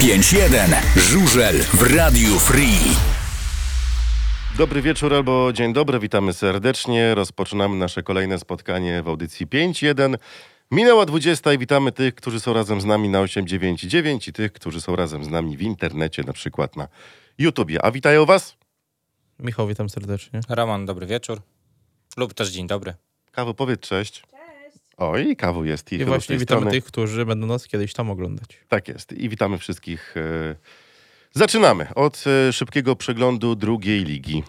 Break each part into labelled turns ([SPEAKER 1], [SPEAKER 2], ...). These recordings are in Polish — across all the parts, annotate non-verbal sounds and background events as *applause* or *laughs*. [SPEAKER 1] 951. Żurzel w Radiu Free.
[SPEAKER 2] Dobry wieczór albo dzień dobry, witamy serdecznie. Rozpoczynamy nasze kolejne spotkanie w audycji 5.1. Minęła 20 i witamy tych, którzy są razem z nami na 8.99 i tych, którzy są razem z nami w internecie, na przykład na YouTubie. A witają was?
[SPEAKER 3] Michał, witam serdecznie.
[SPEAKER 4] Roman, dobry wieczór. Lub też dzień dobry.
[SPEAKER 2] Kawu, powiedz cześć. Oj, i kawu jest.
[SPEAKER 3] I
[SPEAKER 2] chyba z
[SPEAKER 3] właśnie
[SPEAKER 2] tej
[SPEAKER 3] witamy
[SPEAKER 2] strony.
[SPEAKER 3] tych, którzy będą nas kiedyś tam oglądać.
[SPEAKER 2] Tak jest. I witamy wszystkich. e, Zaczynamy od e, szybkiego przeglądu drugiej ligi.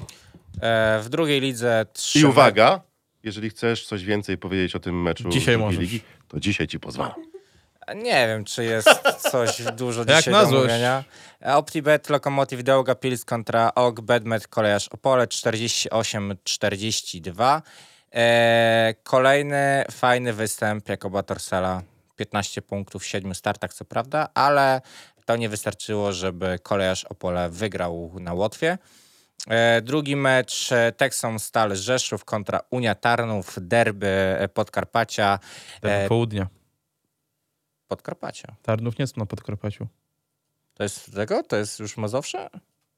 [SPEAKER 4] E, w drugiej lidze trzy.
[SPEAKER 2] I uwaga, jeżeli chcesz coś więcej powiedzieć o tym meczu
[SPEAKER 3] Dzisiaj
[SPEAKER 2] drugiej
[SPEAKER 3] możesz.
[SPEAKER 2] ligi, to dzisiaj ci pozwalam.
[SPEAKER 4] Nie wiem, czy jest coś dużo
[SPEAKER 3] *laughs* Jak
[SPEAKER 4] dzisiaj
[SPEAKER 3] na
[SPEAKER 4] do
[SPEAKER 3] złość.
[SPEAKER 4] mówienia. E, OptiBet, Lokomotiv Dełga Pils kontra OG, Bedmet, Kolejarz Opole 48-42. E, kolejny fajny występ Jakoba Torsela. 15 punktów w 7 startach, co prawda, ale to nie wystarczyło, żeby Kolejarz Opole wygrał na Łotwie. E, drugi mecz e, Texom Stal Rzeszów kontra Unia Tarnów, derby e, Podkarpacia.
[SPEAKER 3] Ten
[SPEAKER 4] E,
[SPEAKER 3] południa.
[SPEAKER 4] Podkarpacia.
[SPEAKER 3] Tarnów nie są na Podkarpaciu.
[SPEAKER 4] To jest tego? To jest już Mazowsze?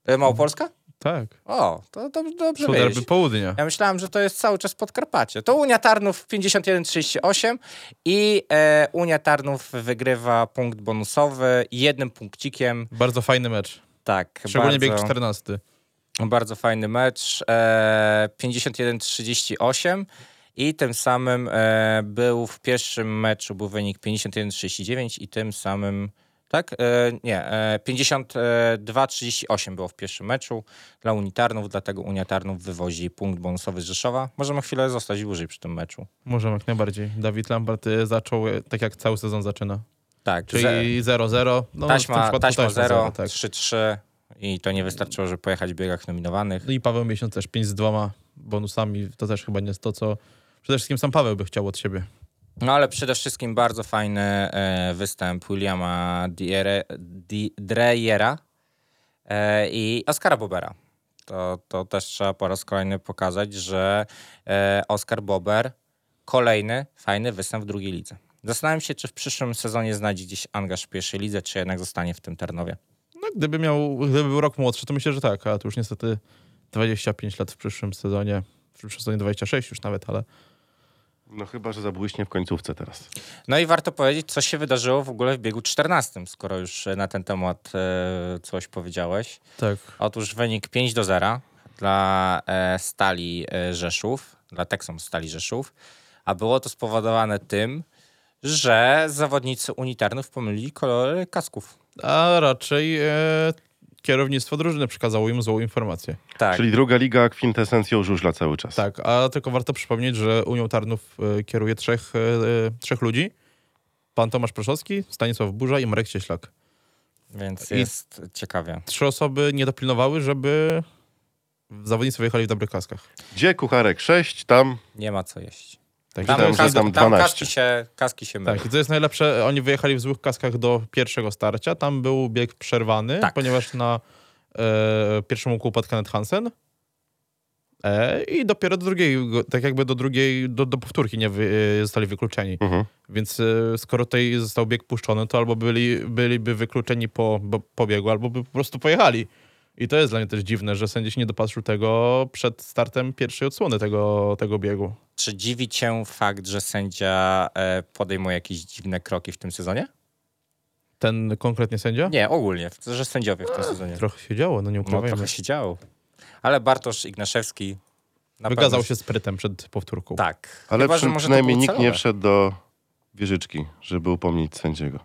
[SPEAKER 4] E, Małopolska?
[SPEAKER 3] Tak.
[SPEAKER 4] O, to dob- dobrze
[SPEAKER 3] Są derby
[SPEAKER 4] wiedzieć.
[SPEAKER 3] południa.
[SPEAKER 4] Ja myślałem, że to jest cały czas Podkarpacie. To Unia Tarnów 51-38 i e, Unia Tarnów wygrywa punkt bonusowy jednym punkcikiem.
[SPEAKER 3] Bardzo fajny mecz.
[SPEAKER 4] Tak,
[SPEAKER 3] Szczególnie
[SPEAKER 4] bardzo,
[SPEAKER 3] bieg 14.
[SPEAKER 4] bardzo fajny mecz. E, 51-38 i tym samym e, był w pierwszym meczu był wynik 51-39 i tym samym tak? E, nie, e, 52-38 było w pierwszym meczu dla Unitarnów, dlatego Unitarnów wywozi punkt bonusowy z Rzeszowa. Możemy chwilę zostać dłużej przy tym meczu.
[SPEAKER 3] Możemy jak najbardziej. Dawid Lampard y, zaczął y, tak jak cały sezon zaczyna.
[SPEAKER 4] Tak, ze-
[SPEAKER 3] Czyli 0-0. No, w tym
[SPEAKER 4] taśma,
[SPEAKER 3] przypadku
[SPEAKER 4] taśma 0,
[SPEAKER 3] tak.
[SPEAKER 4] 3-3 i to nie wystarczyło, żeby pojechać w biegach nominowanych.
[SPEAKER 3] No i Paweł Miesiąc też 5 z dwoma bonusami. To też chyba nie jest to, co przede wszystkim sam Paweł by chciał od siebie.
[SPEAKER 4] No ale przede wszystkim bardzo fajny e, występ Williama Diere, Di, Dreyera e, i Oskara Bobera. To, to też trzeba po raz kolejny pokazać, że e, Oskar Bober kolejny fajny występ w drugiej lidze. Zastanawiam się, czy w przyszłym sezonie znajdzie gdzieś angaż w pierwszej lidze, czy jednak zostanie w tym Tarnowie.
[SPEAKER 3] No, gdyby miał, gdyby był rok młodszy, to myślę, że tak, a tu już niestety 25 lat w przyszłym sezonie, w przyszłym sezonie 26 już nawet, ale
[SPEAKER 2] No chyba, że zabłyśnie w końcówce teraz.
[SPEAKER 4] No i warto powiedzieć, co się wydarzyło w ogóle w biegu 14, skoro już e, na ten temat e, coś powiedziałeś.
[SPEAKER 3] tak.
[SPEAKER 4] Otóż wynik 5 do 0 dla e, Stali e, Rzeszów, dla Texom Stali Rzeszów, a było to spowodowane tym, że zawodnicy unitarnów pomylili kolory kasków.
[SPEAKER 3] A raczej e, kierownictwo drużyny przekazało im złą informację.
[SPEAKER 4] Tak.
[SPEAKER 2] Czyli druga liga kwintesencją żużla cały czas.
[SPEAKER 3] Tak, a tylko warto przypomnieć, że Unią Tarnów e, kieruje trzech, e, trzech ludzi. Pan Tomasz Proszowski, Stanisław Burza i Marek Cieślak.
[SPEAKER 4] Więc
[SPEAKER 3] I-
[SPEAKER 4] jest ciekawie.
[SPEAKER 3] Trzy osoby nie dopilnowały, żeby zawodnicy wyjechali w dobrych kaskach.
[SPEAKER 2] Gdzie kucharek 6, tam
[SPEAKER 4] Nie ma co jeść.
[SPEAKER 3] Tak,
[SPEAKER 2] Tam
[SPEAKER 3] i
[SPEAKER 2] jest- jest tam 12.
[SPEAKER 4] kaski się, kaski się mylą.
[SPEAKER 3] Tak, i co jest najlepsze, oni wyjechali w złych kaskach do pierwszego starcia. Tam był bieg przerwany,
[SPEAKER 4] Tak.
[SPEAKER 3] ponieważ na e, pierwszym łuku upadł Kenneth Hansen. E, I dopiero do drugiej, go- tak jakby do drugiej, do, do powtórki nie wy, e, zostali wykluczeni.
[SPEAKER 2] Mhm.
[SPEAKER 3] Więc e, skoro tutaj został bieg puszczony, to albo byli, byliby wykluczeni po, bo, po biegu, albo by po prostu pojechali. I to jest dla mnie też dziwne, że sędzia się nie dopatrzył tego przed startem pierwszej odsłony tego, tego biegu.
[SPEAKER 4] Czy dziwi cię fakt, że sędzia e, podejmuje jakieś dziwne kroki w tym sezonie?
[SPEAKER 3] Ten konkretnie sędzia?
[SPEAKER 4] Nie, ogólnie, w- że sędziowie w tym sezonie.
[SPEAKER 3] Trochę się działo, no nie
[SPEAKER 4] No,
[SPEAKER 3] ukrywajmy.
[SPEAKER 4] trochę się działo. Ale Bartosz Ignaszewski na
[SPEAKER 3] Wykazał
[SPEAKER 4] pewno-
[SPEAKER 3] się sprytem przed powtórką.
[SPEAKER 4] Tak.
[SPEAKER 2] ale
[SPEAKER 4] Chyba, że
[SPEAKER 2] przy,
[SPEAKER 4] może to
[SPEAKER 2] przynajmniej
[SPEAKER 4] było
[SPEAKER 2] nikt nie
[SPEAKER 4] celowe.
[SPEAKER 2] wszedł do wieżyczki, żeby upomnieć sędziego.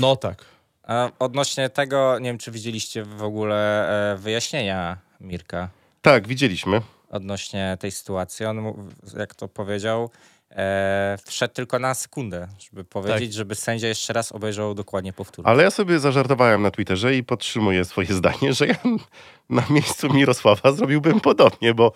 [SPEAKER 3] No tak.
[SPEAKER 4] A Odnośnie tego, nie wiem, czy widzieliście w ogóle e, wyjaśnienia Mirka
[SPEAKER 2] Tak, widzieliśmy.
[SPEAKER 4] odnośnie tej sytuacji. On, mu- jak to powiedział, e, wszedł tylko na sekundę, żeby powiedzieć, żeby sędzia jeszcze raz obejrzał dokładnie powtórkę.
[SPEAKER 2] Ale ja sobie zażartowałem na Twitterze i podtrzymuję swoje *laughs* zdanie, że ja na miejscu Mirosława zrobiłbym podobnie, bo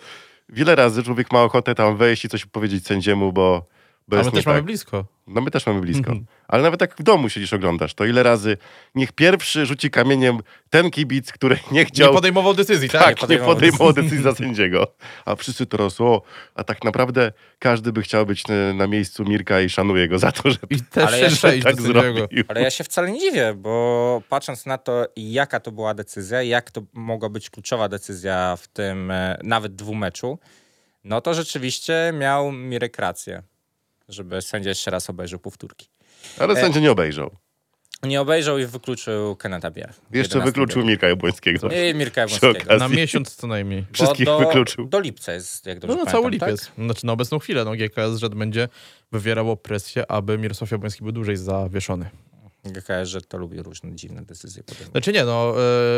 [SPEAKER 2] wiele razy człowiek ma ochotę tam wejść i coś powiedzieć sędziemu, bo, Bo
[SPEAKER 3] A
[SPEAKER 2] jest
[SPEAKER 3] my
[SPEAKER 2] nie
[SPEAKER 3] też
[SPEAKER 2] tak.
[SPEAKER 3] mamy blisko.
[SPEAKER 2] No my też mamy blisko. Ale nawet jak w domu siedzisz, oglądasz, to ile razy niech pierwszy rzuci kamieniem ten kibic, który nie
[SPEAKER 3] Nie
[SPEAKER 2] chciał...
[SPEAKER 3] podejmował decyzji, tak?
[SPEAKER 2] tak, nie
[SPEAKER 4] podejmował
[SPEAKER 2] podejmował decyzji za sędziego. A wszyscy to rosło. A tak naprawdę każdy by chciał być e, na miejscu Mirka i szanuje go za to, że *laughs*
[SPEAKER 3] I też
[SPEAKER 4] Ale
[SPEAKER 3] się
[SPEAKER 4] jeszcze
[SPEAKER 3] przejść
[SPEAKER 2] tak
[SPEAKER 3] do sędziego.
[SPEAKER 2] zrobił.
[SPEAKER 4] Ale ja się wcale nie dziwię, bo patrząc na to, jaka to była decyzja, jak to mogła być kluczowa decyzja w tym e, nawet dwumeczu, no to rzeczywiście miał Mirek rację, żeby sędzia jeszcze raz obejrzał powtórki.
[SPEAKER 2] Ale
[SPEAKER 3] e,
[SPEAKER 2] sędzia nie obejrzał.
[SPEAKER 4] Nie obejrzał i wykluczył Kenata Bier.
[SPEAKER 2] Jeszcze wykluczył Mirka Jabłońskiego.
[SPEAKER 4] I Mirka
[SPEAKER 2] Przy
[SPEAKER 4] Jabłońskiego.
[SPEAKER 2] okazji.
[SPEAKER 3] Na miesiąc co najmniej.
[SPEAKER 4] Bo
[SPEAKER 2] Wszystkich
[SPEAKER 4] do,
[SPEAKER 2] wykluczył.
[SPEAKER 4] Do lipca jest, jak
[SPEAKER 3] No na
[SPEAKER 4] dobrze pamiętam,
[SPEAKER 3] cały
[SPEAKER 4] tak?
[SPEAKER 3] lipiec. Znaczy na obecną chwilę no, GKS Rzed będzie wywierało presję, aby Mirosław Jabłoński był dłużej zawieszony.
[SPEAKER 4] tak? GKS, że to lubi różne dziwne decyzje podejmować.
[SPEAKER 3] Znaczy nie, no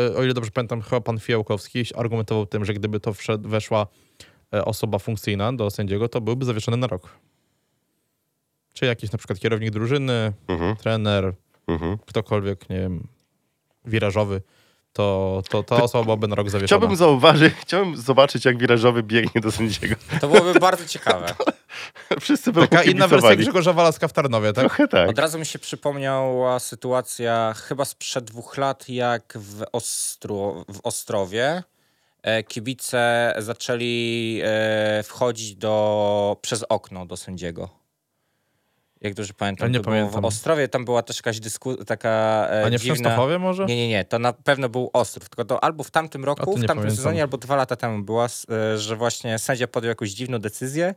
[SPEAKER 3] e, o ile dobrze pamiętam, chyba pan Fijałkowski argumentował tym, że gdyby to wszedł, weszła e, osoba funkcyjna do sędziego, to byłby zawieszony na rok. Czy jakiś na przykład kierownik drużyny,
[SPEAKER 2] Mhm,
[SPEAKER 3] trener,
[SPEAKER 2] mhm.
[SPEAKER 3] ktokolwiek, nie wiem, wirażowy, to, to ta osoba byłaby na rok zawieszona.
[SPEAKER 2] Chciałbym zauważyć, chciałbym zobaczyć, jak wirażowy biegnie do sędziego. *laughs*
[SPEAKER 4] To byłoby bardzo ciekawe.
[SPEAKER 2] Tak. Wszyscy by mu
[SPEAKER 3] Taka inna wersja
[SPEAKER 2] kibicowali.
[SPEAKER 3] Grzegorza Walaska w Tarnowie, tak?
[SPEAKER 2] Trochę tak.
[SPEAKER 4] Od razu mi się przypomniała sytuacja chyba sprzed dwóch lat, jak w, Ostro, w Ostrowie e, kibice zaczęli e, wchodzić do, przez okno do sędziego. Jak dobrze pamiętam,
[SPEAKER 3] Ja nie
[SPEAKER 4] to było
[SPEAKER 3] pamiętam.
[SPEAKER 4] w Ostrowie tam była też jakaś dyskusja, taka e,
[SPEAKER 3] A nie w
[SPEAKER 4] dziwna...
[SPEAKER 3] Częstochowie może?
[SPEAKER 4] Nie, nie, nie, to na pewno był Ostrów, tylko to albo w tamtym
[SPEAKER 3] A to
[SPEAKER 4] roku,
[SPEAKER 3] nie
[SPEAKER 4] w tamtym
[SPEAKER 3] pamiętam.
[SPEAKER 4] sezonie, albo dwa lata temu była, s- e, że właśnie sędzia podjął jakąś dziwną decyzję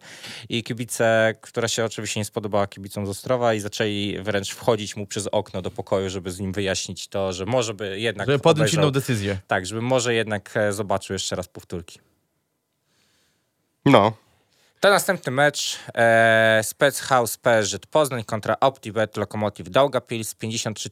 [SPEAKER 4] i kibice, która się oczywiście nie spodobała kibicom z Ostrowa i zaczęli wręcz wchodzić mu przez okno do pokoju, żeby z nim wyjaśnić to, że może by jednak
[SPEAKER 3] Żeby podjąć
[SPEAKER 4] tak obejrzał-
[SPEAKER 3] inną decyzję.
[SPEAKER 4] Tak, żeby może jednak e, zobaczył jeszcze raz powtórki.
[SPEAKER 2] No,
[SPEAKER 4] To następny mecz e, Spec House PSZ Poznań kontra OptiBet Lokomotiv Daugavpils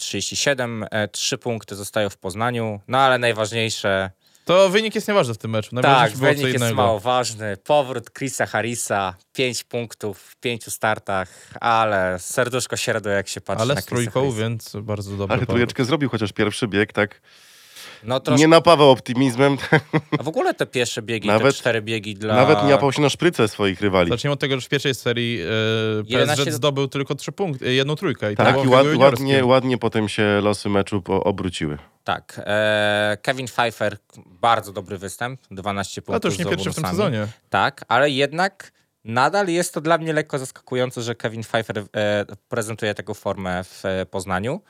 [SPEAKER 4] 53-37. E, trzy punkty zostają w Poznaniu, no ale najważniejsze
[SPEAKER 3] To wynik jest nieważny w tym meczu.
[SPEAKER 4] Tak,
[SPEAKER 3] Najważniejsze było co
[SPEAKER 4] wynik jest
[SPEAKER 3] innego.
[SPEAKER 4] mało ważny. Powrót Chrisa Harrisa, 5 punktów w pięciu startach, ale serduszko się raduje, jak się patrzy
[SPEAKER 3] Ale
[SPEAKER 4] na
[SPEAKER 3] z
[SPEAKER 4] Chrisa
[SPEAKER 3] trójką,
[SPEAKER 4] Harrisa.
[SPEAKER 3] więc bardzo dobry
[SPEAKER 2] ale
[SPEAKER 3] powrót.
[SPEAKER 2] trójeczkę zrobił chociaż pierwszy bieg, tak.
[SPEAKER 4] No troszkę,
[SPEAKER 2] Nie napawał optymizmem, *laughs*
[SPEAKER 4] a w ogóle te pierwsze biegi,
[SPEAKER 2] Nawet-
[SPEAKER 4] te cztery biegi dla...
[SPEAKER 2] nawet nie apał się na szprycę swoich rywali.
[SPEAKER 3] Zacznijmy od tego, że w pierwszej serii e,
[SPEAKER 4] 11
[SPEAKER 3] PSG zdobył tylko trzy punkty, e, jedną trójkę. I to
[SPEAKER 2] Tak,
[SPEAKER 3] było
[SPEAKER 2] i
[SPEAKER 3] w tego
[SPEAKER 2] ład,
[SPEAKER 3] juniorskim.
[SPEAKER 2] ładnie, ładnie potem się losy meczu po, obróciły.
[SPEAKER 4] Tak, e, Kevin Pfeiffer, bardzo dobry występ, 12 punktów
[SPEAKER 3] A to już nie
[SPEAKER 4] z
[SPEAKER 3] pierwszy w tym
[SPEAKER 4] bonusami.
[SPEAKER 3] sezonie.
[SPEAKER 4] Tak, ale jednak nadal jest to dla mnie lekko zaskakujące, że Kevin Pfeiffer e, prezentuje taką formę w e, Poznaniu.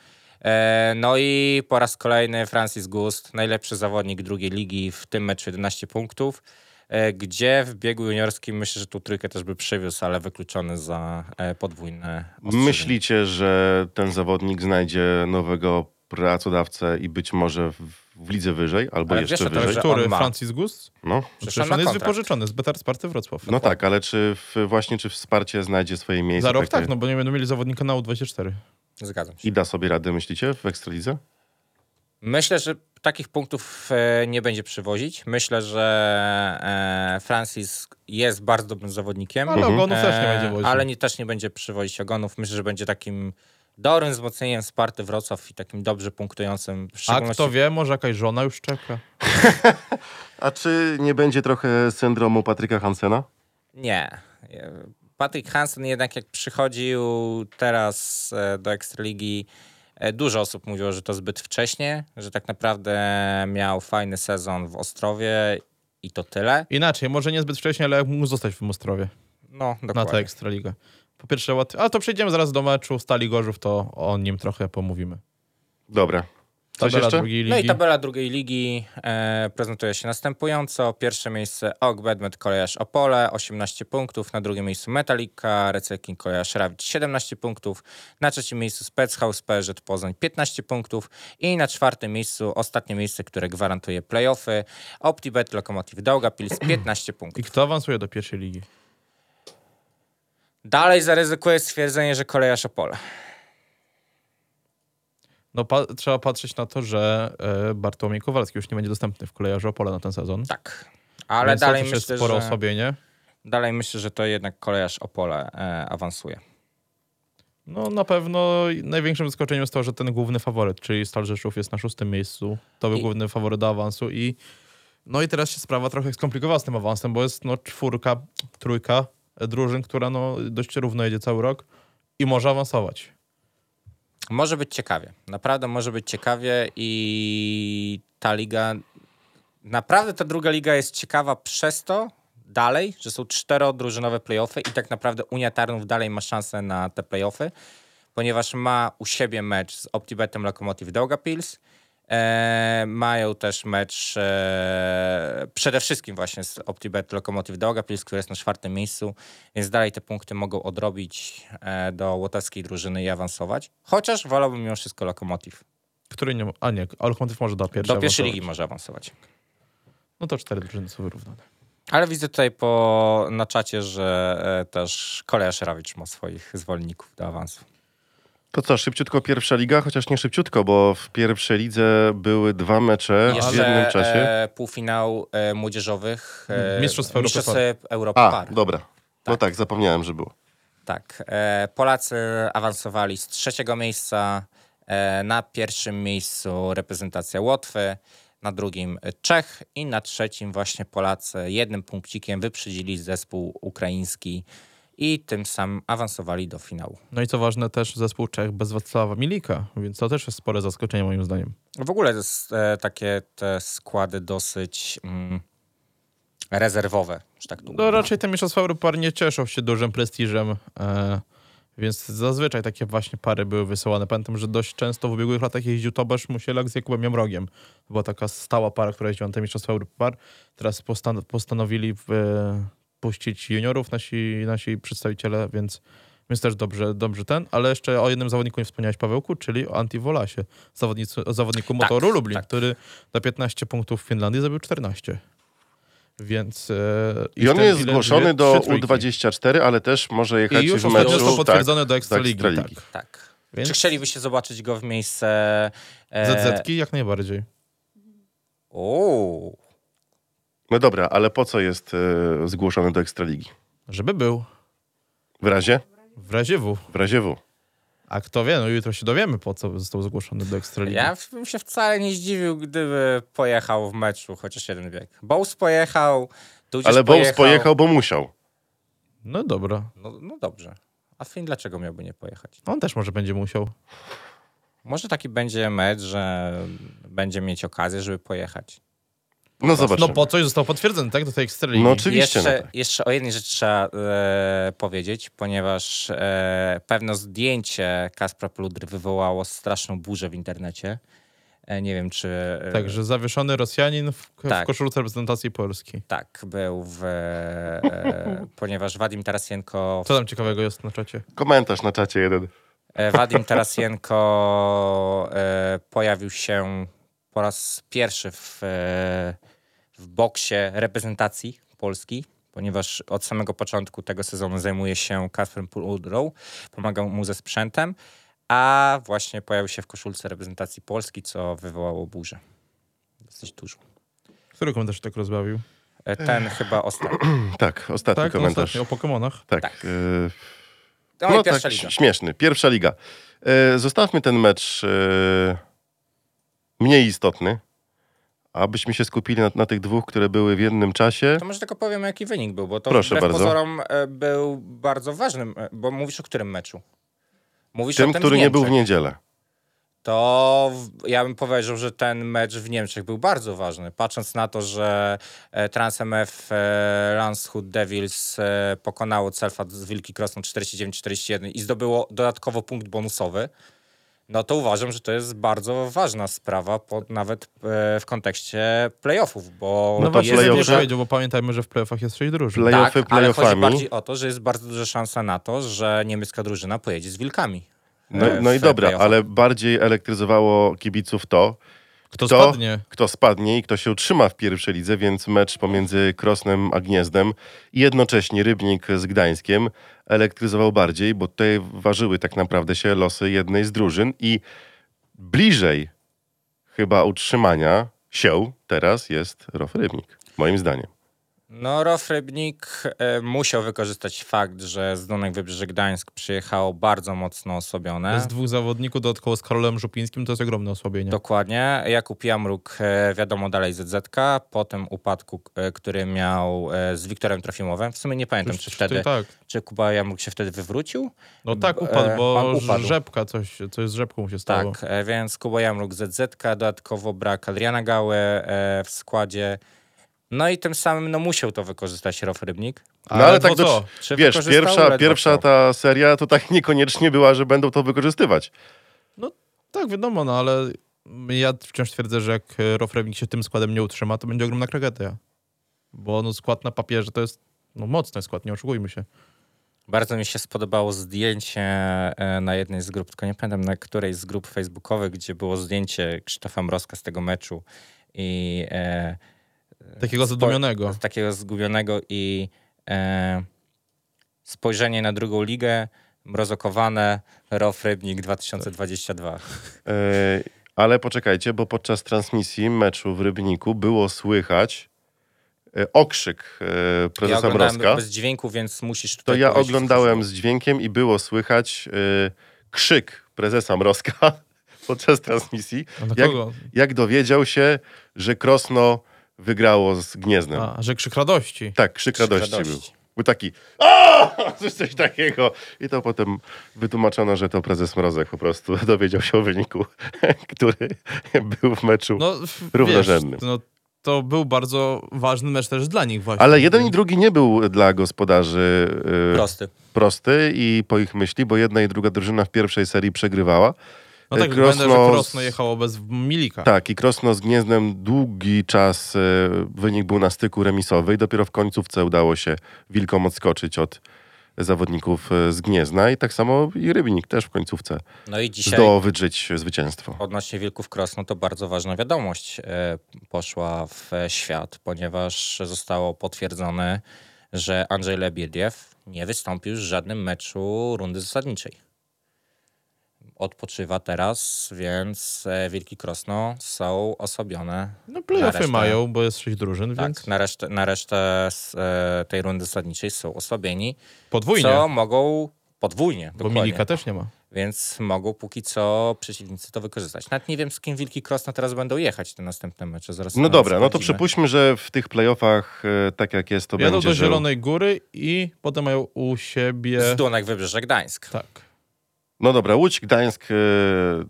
[SPEAKER 4] E, no i po raz kolejny Francis Gust, najlepszy zawodnik drugiej ligi w tym meczu 11 punktów, e, gdzie w biegu juniorskim myślę, że tu trójkę też by przywiózł, ale wykluczony za e, podwójne ostrzeżenie.
[SPEAKER 2] Myślicie, że ten zawodnik znajdzie nowego pracodawcę i być może w, w lidze wyżej, albo
[SPEAKER 4] Ale wiesz,
[SPEAKER 2] jeszcze
[SPEAKER 4] że to
[SPEAKER 2] wyżej?
[SPEAKER 4] że
[SPEAKER 3] Który?
[SPEAKER 4] on ma.
[SPEAKER 3] Francis Gust?
[SPEAKER 2] No,
[SPEAKER 4] Przecież
[SPEAKER 3] Przecież
[SPEAKER 4] on
[SPEAKER 3] on
[SPEAKER 4] ma
[SPEAKER 3] jest
[SPEAKER 4] kontrakt.
[SPEAKER 3] wypożyczony z Betar Sparty Wrocław.
[SPEAKER 2] no tak, ale czy w, właśnie czy wsparcie znajdzie swoje miejsce?
[SPEAKER 3] Za rok
[SPEAKER 2] takie
[SPEAKER 3] tak, no bo nie będą mieli zawodnika na U24.
[SPEAKER 4] Zgadzam się.
[SPEAKER 2] I da sobie radę, myślicie, w Ekstralidze?
[SPEAKER 4] Myślę, że takich punktów e, nie będzie przywozić. Myślę, że e, Francis jest bardzo dobrym zawodnikiem.
[SPEAKER 3] Ale ogonów też nie będzie
[SPEAKER 4] E,
[SPEAKER 3] woził.
[SPEAKER 4] Ale nie, też nie będzie przywozić ogonów. Myślę, że będzie takim dobrym wzmocnieniem Sparty Wrocław i takim dobrze punktującym. W
[SPEAKER 3] A
[SPEAKER 4] szczególności
[SPEAKER 3] kto wie, może jakaś żona już czeka.
[SPEAKER 2] A czy nie będzie trochę syndromu Patryka Hansena?
[SPEAKER 4] Nie. E, Patrick Hansen jednak jak przychodził teraz e, do Ekstraligi, e, dużo osób mówiło, że to zbyt wcześnie, że tak naprawdę miał fajny sezon w Ostrowie i to tyle.
[SPEAKER 3] Inaczej, może niezbyt wcześnie, ale mógł zostać w Mostrowie
[SPEAKER 4] No,
[SPEAKER 3] na tę
[SPEAKER 4] dokładnie.
[SPEAKER 3] Ekstraligę. Po pierwsze, łat... a to przejdziemy zaraz do meczu Stali Gorzów, to o nim trochę pomówimy.
[SPEAKER 2] Dobra. Coś
[SPEAKER 3] Tabela
[SPEAKER 2] jeszcze?
[SPEAKER 3] drugiej
[SPEAKER 4] No i
[SPEAKER 3] ligi.
[SPEAKER 4] tabela drugiej ligi e, prezentuje się następująco. Pierwsze miejsce OG Bedmet Kolejarz Opole 18 punktów, na drugim miejscu Metalika, Recykling Kolejarz Rawicz 17 punktów, na trzecim miejscu Spechaus PZ Poznań 15 punktów i na czwartym miejscu ostatnie miejsce, które gwarantuje playoffy OptiBet Lokomotiv
[SPEAKER 3] *clears throat*
[SPEAKER 4] Daugavpils 15 punktów.
[SPEAKER 3] I kto awansuje do pierwszej ligi?
[SPEAKER 4] Dalej zaryzykuję stwierdzenie, że Kolejarz Opole.
[SPEAKER 3] No pa- trzeba patrzeć na to, że e, Bartłomiej Kowalski już nie będzie dostępny w kolejarzu Opole na ten sezon.
[SPEAKER 4] Tak. Ale
[SPEAKER 3] Więc to
[SPEAKER 4] dalej
[SPEAKER 3] też jest
[SPEAKER 4] myślę,
[SPEAKER 3] sporo
[SPEAKER 4] że,
[SPEAKER 3] osłabienie.
[SPEAKER 4] dalej myślę, że to jednak Kolejarz Opole e, awansuje.
[SPEAKER 3] No na pewno największym zaskoczeniem jest to, że ten główny faworyt, czyli Stal Rzeszów jest na szóstym miejscu. To był
[SPEAKER 4] I-
[SPEAKER 3] główny faworyt do awansu i no i teraz się sprawa trochę skomplikowała z tym awansem, bo jest no czwórka, trójka drużyn, która no, dość równo jedzie cały rok i może awansować.
[SPEAKER 4] Może być ciekawie. Naprawdę może być ciekawie i ta liga. Naprawdę ta druga liga jest ciekawa przez to dalej, że są czterodrużynowe playoffy i tak naprawdę Unia Tarnów dalej ma szansę na te playoffy, ponieważ ma u siebie mecz z OptiBetem Lokomotiv Daugavpils. E, mają też mecz e, przede wszystkim właśnie z OptiBet Lokomotiv Daugavpils, który jest na czwartym miejscu, więc dalej te punkty mogą odrobić e, do łotewskiej drużyny i awansować. Chociaż wolałbym mimo wszystko Lokomotiv.
[SPEAKER 3] Który nie ma, a nie, a Lokomotyw może do pierwszej
[SPEAKER 4] Do pierwszej
[SPEAKER 3] awansować.
[SPEAKER 4] ligi może awansować.
[SPEAKER 3] No to cztery drużyny są wyrównane.
[SPEAKER 4] Ale widzę tutaj po, na czacie, że e, też Koleja Szerawicz ma swoich zwolenników do awansu.
[SPEAKER 2] To co, szybciutko pierwsza liga, chociaż nie szybciutko, bo w pierwszej lidze były dwa mecze w jednym czasie. Mm,
[SPEAKER 4] e, półfinał e, młodzieżowych e,
[SPEAKER 3] Mistrzostw Europy
[SPEAKER 4] Mistrzostw
[SPEAKER 3] Par.
[SPEAKER 4] Europy
[SPEAKER 2] A,
[SPEAKER 4] Par.
[SPEAKER 2] dobra. No tak, zapomniałem, że było.
[SPEAKER 4] Tak. E, Polacy awansowali z trzeciego miejsca. E, na pierwszym miejscu reprezentacja Łotwy, na drugim Czech i na trzecim właśnie Polacy jednym punkcikiem wyprzedzili zespół ukraiński i tym samym awansowali do finału.
[SPEAKER 3] No i co ważne, też zespół Czech bez Wacława Milika, więc to też jest spore zaskoczenie moim zdaniem.
[SPEAKER 4] W ogóle to jest, e, takie te składy dosyć mm, rezerwowe, że tak długo.
[SPEAKER 3] No raczej te mistrzostwa Europy par nie cieszą się dużym prestiżem, e, więc zazwyczaj takie właśnie pary były wysyłane. Pamiętam, że dość często w ubiegłych latach jeździł Tobasz Musielak z Jakubem Jamrogiem. To Była taka stała para, która jeździła na te mistrzostwa Europy par. Teraz postan postanowili w, e, puścić juniorów nasi, nasi przedstawiciele, więc, więc też dobrze, dobrze ten. Ale jeszcze o jednym zawodniku nie wspomniałeś, Pawełku, czyli o Antivolasie, zawodnicy, o zawodniku motoru Lublin,
[SPEAKER 4] tak.
[SPEAKER 3] który na 15 punktów w Finlandii zrobił 14. Więc. E,
[SPEAKER 2] I on
[SPEAKER 3] w tym
[SPEAKER 2] jest
[SPEAKER 3] ile-
[SPEAKER 2] zgłoszony
[SPEAKER 3] dwie-
[SPEAKER 2] do
[SPEAKER 3] trzy trójki.
[SPEAKER 2] U24, ale też może jechać
[SPEAKER 3] I już
[SPEAKER 2] w
[SPEAKER 3] ostatnio
[SPEAKER 2] meczu.
[SPEAKER 3] został potwierdzony do
[SPEAKER 2] do
[SPEAKER 3] Ekstraligi. Tak,
[SPEAKER 2] Ekstraligi.
[SPEAKER 4] Tak.
[SPEAKER 3] Więc
[SPEAKER 4] Czy chcielibyście zobaczyć go w miejsce... e,
[SPEAKER 3] ZZ-ki jak najbardziej.
[SPEAKER 4] Uuu.
[SPEAKER 2] No dobra, ale po co jest e, zgłoszony do Ekstraligi?
[SPEAKER 3] Żeby był.
[SPEAKER 2] W razie?
[SPEAKER 3] W razie W.
[SPEAKER 2] W razie W.
[SPEAKER 3] A kto wie, no jutro się dowiemy, po co został zgłoszony do Ekstraligi.
[SPEAKER 4] Ja bym się wcale nie zdziwił, gdyby pojechał w meczu chociaż jeden bieg. Bows pojechał, Dudzisz
[SPEAKER 2] Ale Bows
[SPEAKER 4] pojechał.
[SPEAKER 2] pojechał, bo musiał.
[SPEAKER 3] No dobra.
[SPEAKER 4] No, no dobrze. A Finn dlaczego miałby nie pojechać?
[SPEAKER 3] On też może będzie musiał.
[SPEAKER 4] Może taki będzie mecz, że będzie mieć okazję, żeby pojechać.
[SPEAKER 2] No zobaczymy.
[SPEAKER 3] No po coś został potwierdzony, tak? Do tej Ekstraligi.
[SPEAKER 2] No oczywiście.
[SPEAKER 4] Jeszcze,
[SPEAKER 2] No tak.
[SPEAKER 4] jeszcze o jednej rzeczy trzeba e, powiedzieć, ponieważ e, pewne zdjęcie Kaspra Pludry wywołało straszną burzę w internecie. E, nie wiem, czy... E,
[SPEAKER 2] Tak.
[SPEAKER 3] Także zawieszony Rosjanin w,
[SPEAKER 4] Tak.
[SPEAKER 3] w koszulce reprezentacji Polski.
[SPEAKER 4] Tak, był w... E, ponieważ Wadim Tarasienko...
[SPEAKER 3] Co tam ciekawego jest na czacie?
[SPEAKER 2] Komentarz na czacie jeden.
[SPEAKER 4] E, Wadim Tarasienko e, pojawił się po raz pierwszy w, e, w boksie reprezentacji Polski, ponieważ od samego początku tego sezonu zajmuje się Kasprem Pudrą, pomagał mu ze sprzętem, a właśnie pojawił się w koszulce reprezentacji Polski, co wywołało burzę. Dosyć dużo.
[SPEAKER 3] Który komentarz tak rozbawił?
[SPEAKER 4] E, Ten chyba ostatni.
[SPEAKER 2] *clears throat* Tak, ostatni
[SPEAKER 3] Tak, no
[SPEAKER 2] komentarz.
[SPEAKER 3] ostatnio o Pokemonach.
[SPEAKER 2] tak.
[SPEAKER 4] Tak.
[SPEAKER 2] e,
[SPEAKER 4] To
[SPEAKER 2] no
[SPEAKER 4] no,
[SPEAKER 2] tak,
[SPEAKER 4] pierwsza liga.
[SPEAKER 2] śmieszny. Pierwsza liga. E, zostawmy ten mecz e, mniej istotny, abyśmy się skupili na, na tych dwóch, które były w jednym czasie.
[SPEAKER 4] To może tylko powiem, jaki wynik był, bo to
[SPEAKER 2] Proszę
[SPEAKER 4] wbrew
[SPEAKER 2] bardzo.
[SPEAKER 4] pozorom e, był bardzo ważnym, e, bo mówisz o którym meczu? Mówisz o
[SPEAKER 2] Tym,
[SPEAKER 4] tym
[SPEAKER 2] który
[SPEAKER 4] w
[SPEAKER 2] nie był w
[SPEAKER 4] Niemczech.
[SPEAKER 2] niedzielę.
[SPEAKER 4] To w- ja bym powiedział, że ten mecz w Niemczech był bardzo ważny, patrząc na to, że e, TransMF e, Landshut Devils e, pokonało Celfat z Wilki Krosną 49-41 i zdobyło dodatkowo punkt bonusowy, no to uważam, że to jest bardzo ważna sprawa, po, nawet e, w kontekście playoffów, bo
[SPEAKER 2] No
[SPEAKER 3] No
[SPEAKER 2] to
[SPEAKER 3] właśnie, nie
[SPEAKER 2] playoffy-
[SPEAKER 3] powiedział, bo pamiętajmy, że w playoffach jest sześć drużyn.
[SPEAKER 2] Play- playoffy
[SPEAKER 4] tak, ale chodzi
[SPEAKER 2] playoffami.
[SPEAKER 4] bardziej o to, że jest bardzo duża szansa na to, że niemiecka drużyna pojedzie z Wilkami.
[SPEAKER 2] No,
[SPEAKER 4] e,
[SPEAKER 2] no i
[SPEAKER 4] w
[SPEAKER 2] dobra,
[SPEAKER 4] playoffach.
[SPEAKER 2] ale bardziej elektryzowało kibiców to,
[SPEAKER 3] Kto
[SPEAKER 2] kto-
[SPEAKER 3] spadnie?
[SPEAKER 2] kto spadnie i kto się utrzyma w pierwszej lidze, więc mecz pomiędzy Krosnem a Gniezdem i jednocześnie Rybnik z Gdańskiem elektryzował bardziej, bo tutaj ważyły tak naprawdę się losy jednej z drużyn i bliżej chyba utrzymania się teraz jest Rof Rybnik, moim zdaniem.
[SPEAKER 4] No, Rof Rybnik e, musiał wykorzystać fakt, że z Dunek Wybrzeże Gdańsk przyjechało bardzo mocno osłabione.
[SPEAKER 3] Z dwóch zawodników dodatkowo z Karolem Żupińskim to jest ogromne osłabienie.
[SPEAKER 4] Dokładnie. Jakub Jamruk, e, wiadomo, dalej ZZK. Po tym upadku, e, który miał e, z Wiktorem Trofimowem. W sumie nie pamiętam, czy,
[SPEAKER 3] Przecież
[SPEAKER 4] wtedy,
[SPEAKER 3] ty- Tak.
[SPEAKER 4] czy Kuba Jamruk się wtedy wywrócił.
[SPEAKER 3] No tak
[SPEAKER 4] B-
[SPEAKER 3] upadł,
[SPEAKER 4] e,
[SPEAKER 3] bo
[SPEAKER 4] on upadł.
[SPEAKER 3] rzepka, coś, coś z rzepką się stało.
[SPEAKER 4] Tak, e, więc Kuba Jamruk, ZZK, dodatkowo brak Adriana Gały e, w składzie. No i tym samym no, musiał to wykorzystać Rof Rybnik.
[SPEAKER 2] No ale, tak,
[SPEAKER 3] po co?
[SPEAKER 2] do,
[SPEAKER 4] Czy
[SPEAKER 2] wiesz,
[SPEAKER 4] wykorzystał?
[SPEAKER 2] pierwsza,
[SPEAKER 4] Ledwo
[SPEAKER 2] pierwsza
[SPEAKER 4] co.
[SPEAKER 2] ta seria to tak niekoniecznie była, że będą to wykorzystywać.
[SPEAKER 3] Tak, wiadomo, no ale ja wciąż twierdzę, że jak e, Rofrewnik się tym składem nie utrzyma, to będzie ogromna tragedia. Bo no, skład na papierze to jest no, mocny skład, nie oszukujmy się.
[SPEAKER 4] Bardzo mi się spodobało zdjęcie e, na jednej z grup, tylko nie pamiętam na której z grup facebookowych, gdzie było zdjęcie Krzysztofa Mrozka z tego meczu i e,
[SPEAKER 3] Takiego
[SPEAKER 4] Spo-
[SPEAKER 3] zadumionego.
[SPEAKER 4] z takiego zgubionego i e, spojrzenie na drugą ligę, mrozokowane, Rof Rybnik 2022.
[SPEAKER 2] E, ale poczekajcie, bo podczas transmisji meczu w Rybniku było słychać e, okrzyk e,
[SPEAKER 4] ja
[SPEAKER 2] prezesa
[SPEAKER 4] oglądałem
[SPEAKER 2] Mrozka.
[SPEAKER 4] bez dźwięku, więc musisz
[SPEAKER 2] To
[SPEAKER 4] tutaj
[SPEAKER 2] ja
[SPEAKER 4] powiedzieć, co
[SPEAKER 2] oglądałem z dźwiękiem i było słychać e, krzyk prezesa Mrozka *laughs* podczas transmisji,
[SPEAKER 3] A na
[SPEAKER 2] jak-
[SPEAKER 3] kogo?
[SPEAKER 2] jak dowiedział się, że Krosno wygrało z Gniezdem.
[SPEAKER 3] A, że krzyk radości.
[SPEAKER 2] Tak, krzyk
[SPEAKER 4] Krzyk
[SPEAKER 2] radości,
[SPEAKER 4] radości.
[SPEAKER 2] był. Był taki "A!" *laughs* coś, coś takiego. I to potem wytłumaczono, że to prezes Mrozek po prostu *laughs* dowiedział się o wyniku, *laughs* który był w meczu.
[SPEAKER 3] No, w-
[SPEAKER 2] Równorzędny.
[SPEAKER 3] wiesz, No, to był bardzo ważny mecz też dla nich właśnie.
[SPEAKER 2] Ale jeden i drugi nie był dla gospodarzy e,
[SPEAKER 4] Prosty.
[SPEAKER 2] prosty i po ich myśli, bo jedna i druga drużyna w pierwszej serii przegrywała. Y,
[SPEAKER 3] No tak,
[SPEAKER 2] Krosno-
[SPEAKER 3] będę, że Krosno jechało bez Milika.
[SPEAKER 2] Tak, i Krosno z Gniezdem długi czas e, wynik był na styku remisowy i dopiero w końcówce udało się Wilkom odskoczyć od zawodników e, z Gniezna i tak samo i Rybnik też w końcówce
[SPEAKER 4] No i dzisiaj
[SPEAKER 2] zdołał wydrzeć zwycięstwo.
[SPEAKER 4] odnośnie Wilków Krosno to bardzo ważna wiadomość e, poszła w e, świat, ponieważ zostało potwierdzone, że Andrzej Lebiediew nie wystąpił w żadnym meczu rundy zasadniczej. Odpoczywa teraz, więc e, Wilki Krosno są osobione.
[SPEAKER 3] No
[SPEAKER 4] Na
[SPEAKER 3] playoffy
[SPEAKER 4] resztę-
[SPEAKER 3] mają, bo jest sześć drużyn, więc
[SPEAKER 4] Tak, na resztę, na resztę z, e, tej rundy zasadniczej są osłabieni,
[SPEAKER 3] podwójnie,
[SPEAKER 4] co mogą podwójnie,
[SPEAKER 3] bo
[SPEAKER 4] dokładnie.
[SPEAKER 3] Milika też nie ma.
[SPEAKER 4] Więc mogą póki co przeciwnicy to wykorzystać. Nawet nie wiem, z kim Wilki Krosno teraz będą jechać te następne mecze. Zaraz
[SPEAKER 2] No
[SPEAKER 4] zaraz
[SPEAKER 2] dobra, no to
[SPEAKER 4] sprawdzimy.
[SPEAKER 2] przypuśćmy, że w tych playoffach, e, tak jak jest, to
[SPEAKER 3] Jadą
[SPEAKER 2] będzie...
[SPEAKER 3] do
[SPEAKER 2] że-
[SPEAKER 3] Zielonej Góry i potem mają u siebie...
[SPEAKER 4] Z Dunek Wybrzeże Gdańsk.
[SPEAKER 3] Tak.
[SPEAKER 2] No dobra, Łódź, Gdańsk, e,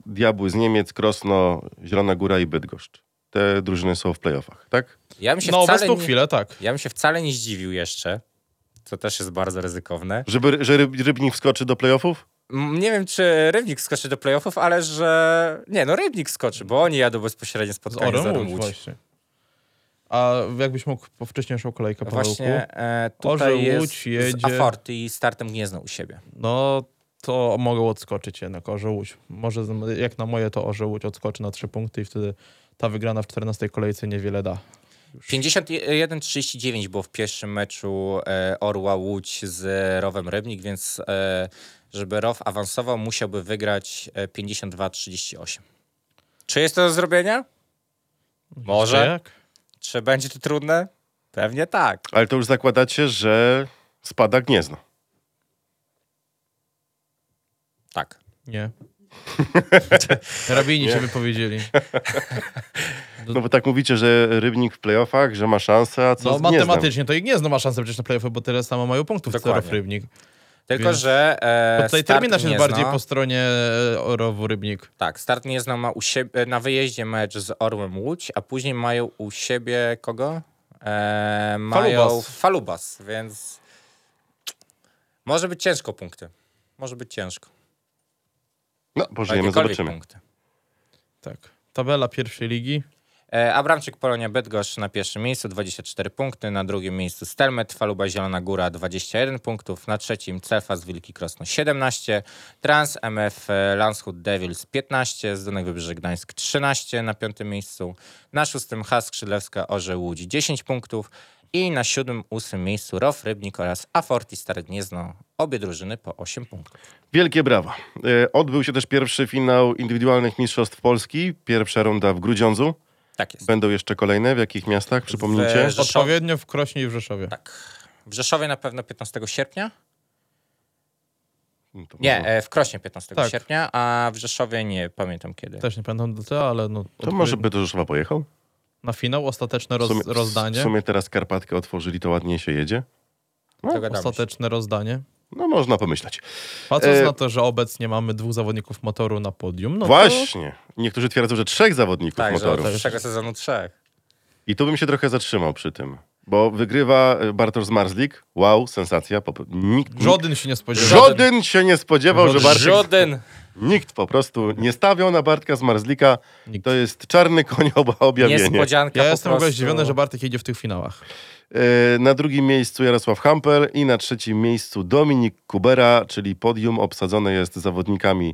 [SPEAKER 2] Diabły z Niemiec, Krosno, Zielona Góra i Bydgoszcz. Te drużyny są w playoffach, tak?
[SPEAKER 4] Ja bym się
[SPEAKER 3] Na
[SPEAKER 4] wcale
[SPEAKER 3] obecną
[SPEAKER 4] nie,
[SPEAKER 3] chwilę tak.
[SPEAKER 4] Ja bym się wcale nie zdziwił jeszcze, co też jest bardzo ryzykowne.
[SPEAKER 2] Żeby, że Ryb- Rybnik wskoczy do playoffów?
[SPEAKER 4] M, Nie wiem, czy Rybnik skoczy do playoffów, ale że... Nie, no Rybnik skoczy, bo oni jadą bezpośrednio
[SPEAKER 3] Z
[SPEAKER 4] spotkanie z
[SPEAKER 3] Orem
[SPEAKER 4] Orem
[SPEAKER 3] Łódź
[SPEAKER 4] Łódź.
[SPEAKER 3] właśnie. A jakbyś mógł po wcześniejszą kolejkę, Pawełku?
[SPEAKER 4] Właśnie e,
[SPEAKER 3] Orzeł
[SPEAKER 4] tutaj
[SPEAKER 3] Łódź
[SPEAKER 4] jest
[SPEAKER 3] jedzie-
[SPEAKER 4] z Afort i startem Gniezno u siebie.
[SPEAKER 3] No to mogą odskoczyć jednak Orzeł Łódź. Może z- jak na moje to Orzeł Łódź odskoczy na trzy punkty i wtedy ta wygrana w 14 kolejce niewiele da.
[SPEAKER 4] 51-39 było w pierwszym meczu e, Orła Łódź z Rowem Rybnik, więc e, żeby Row awansował, musiałby wygrać e, 52-38. Czy jest to do zrobienia? Może.
[SPEAKER 3] Jak?
[SPEAKER 4] Czy będzie to trudne? Pewnie tak.
[SPEAKER 2] Ale to już zakładacie, że spada Gniezno.
[SPEAKER 4] Tak.
[SPEAKER 2] *laughs*
[SPEAKER 3] Nie. Rabini się wypowiedzieli.
[SPEAKER 2] No bo tak mówicie, że Rybnik w playoffach, że ma szansę, a co
[SPEAKER 3] No
[SPEAKER 2] z Gniezdem?
[SPEAKER 3] matematycznie to i Gniezno ma szansę przecież na playoffy, bo tyle samo mają punktów co
[SPEAKER 4] Dokładnie.
[SPEAKER 3] Rof Rybnik.
[SPEAKER 4] Tylko,
[SPEAKER 3] Więc-
[SPEAKER 4] że. E,
[SPEAKER 3] Bo tutaj
[SPEAKER 4] start
[SPEAKER 3] terminarz jest
[SPEAKER 4] Gniezno-
[SPEAKER 3] bardziej po stronie e, Rowu Rybnik.
[SPEAKER 4] Tak, start Gniezno ma u siebie, na wyjeździe mecz z Orłem Łódź, a później mają u siebie kogo? E, mają
[SPEAKER 3] Falubas.
[SPEAKER 4] Falubas. więc może być ciężko punkty. Może być ciężko.
[SPEAKER 2] No, pożyjemy,
[SPEAKER 4] Jakiekolwiek
[SPEAKER 2] zobaczymy.
[SPEAKER 4] punkty.
[SPEAKER 3] Tak. Tabela pierwszej ligi.
[SPEAKER 4] E, Abramczyk Polonia Bydgoszcz na pierwszym miejscu 24 punkty, na drugim miejscu Stelmet, Faluba Zielona Góra 21 punktów, na trzecim Celfas Wilki Krosno 17, Trans MF e, Landshut Devils 15, Zdunek Wybrzeże Gdańsk 13 na piątym miejscu, na szóstym Has Skrzydlewska Orze Łódź 10 punktów i na siódmym, ósmym miejscu Rof Rybnik oraz Aforti Stare Gniezno, obie drużyny po 8 punktów.
[SPEAKER 2] Wielkie brawa. E, Odbył się też pierwszy finał indywidualnych Mistrzostw Polski. Pierwsza runda w Grudziądzu.
[SPEAKER 4] Tak jest.
[SPEAKER 2] Będą jeszcze kolejne? W jakich miastach? Przypomnijcie.
[SPEAKER 4] Rzeszowie.
[SPEAKER 3] Odpowiednio w Krośnie i w Rzeszowie.
[SPEAKER 4] Tak. W Rzeszowie na pewno 15 sierpnia.
[SPEAKER 2] No to
[SPEAKER 4] Nie,
[SPEAKER 2] może-
[SPEAKER 4] e, w Krośnie 15
[SPEAKER 3] Tak.
[SPEAKER 4] sierpnia, a w Rzeszowie nie pamiętam kiedy.
[SPEAKER 3] Też nie pamiętam do tego, ale no,
[SPEAKER 2] To może by do Rzeszowa pojechał?
[SPEAKER 3] na finał ostateczne roz,
[SPEAKER 2] sumie-
[SPEAKER 3] rozdanie.
[SPEAKER 2] W sumie teraz Karpatkę otworzyli, to ładnie się jedzie.
[SPEAKER 3] No,
[SPEAKER 4] Dogadamy się.
[SPEAKER 3] Ostateczne rozdanie.
[SPEAKER 2] No można pomyśleć.
[SPEAKER 3] Patrząc
[SPEAKER 2] E,
[SPEAKER 3] na to, że obecnie mamy dwóch zawodników motoru na podium, no to
[SPEAKER 2] Właśnie. Niektórzy twierdzą, że trzech zawodników
[SPEAKER 4] Tak, że od
[SPEAKER 2] motorów.
[SPEAKER 4] przyszłego sezonu trzech.
[SPEAKER 2] I tu bym się trochę zatrzymał przy tym. Bo wygrywa e, Bartosz Zmarzlik. Wow, sensacja. Pop- nikt, nikt,
[SPEAKER 3] żaden się nie spodziewał.
[SPEAKER 2] żaden się nie spodziewał, że Bartek...
[SPEAKER 4] Żaden.
[SPEAKER 2] Nikt po prostu nie stawiał na Bartka Zmarzlika.
[SPEAKER 3] Nikt.
[SPEAKER 2] To jest czarny koń *laughs* oba objawienie.
[SPEAKER 4] Niespodzianka
[SPEAKER 3] Ja
[SPEAKER 4] po
[SPEAKER 3] jestem w ogóle
[SPEAKER 4] prostu.
[SPEAKER 3] zdziwiony, że Bartek jedzie w tych finałach.
[SPEAKER 2] E, Na drugim miejscu Jarosław Hampel i na trzecim miejscu Dominik Kubera, czyli podium obsadzone jest zawodnikami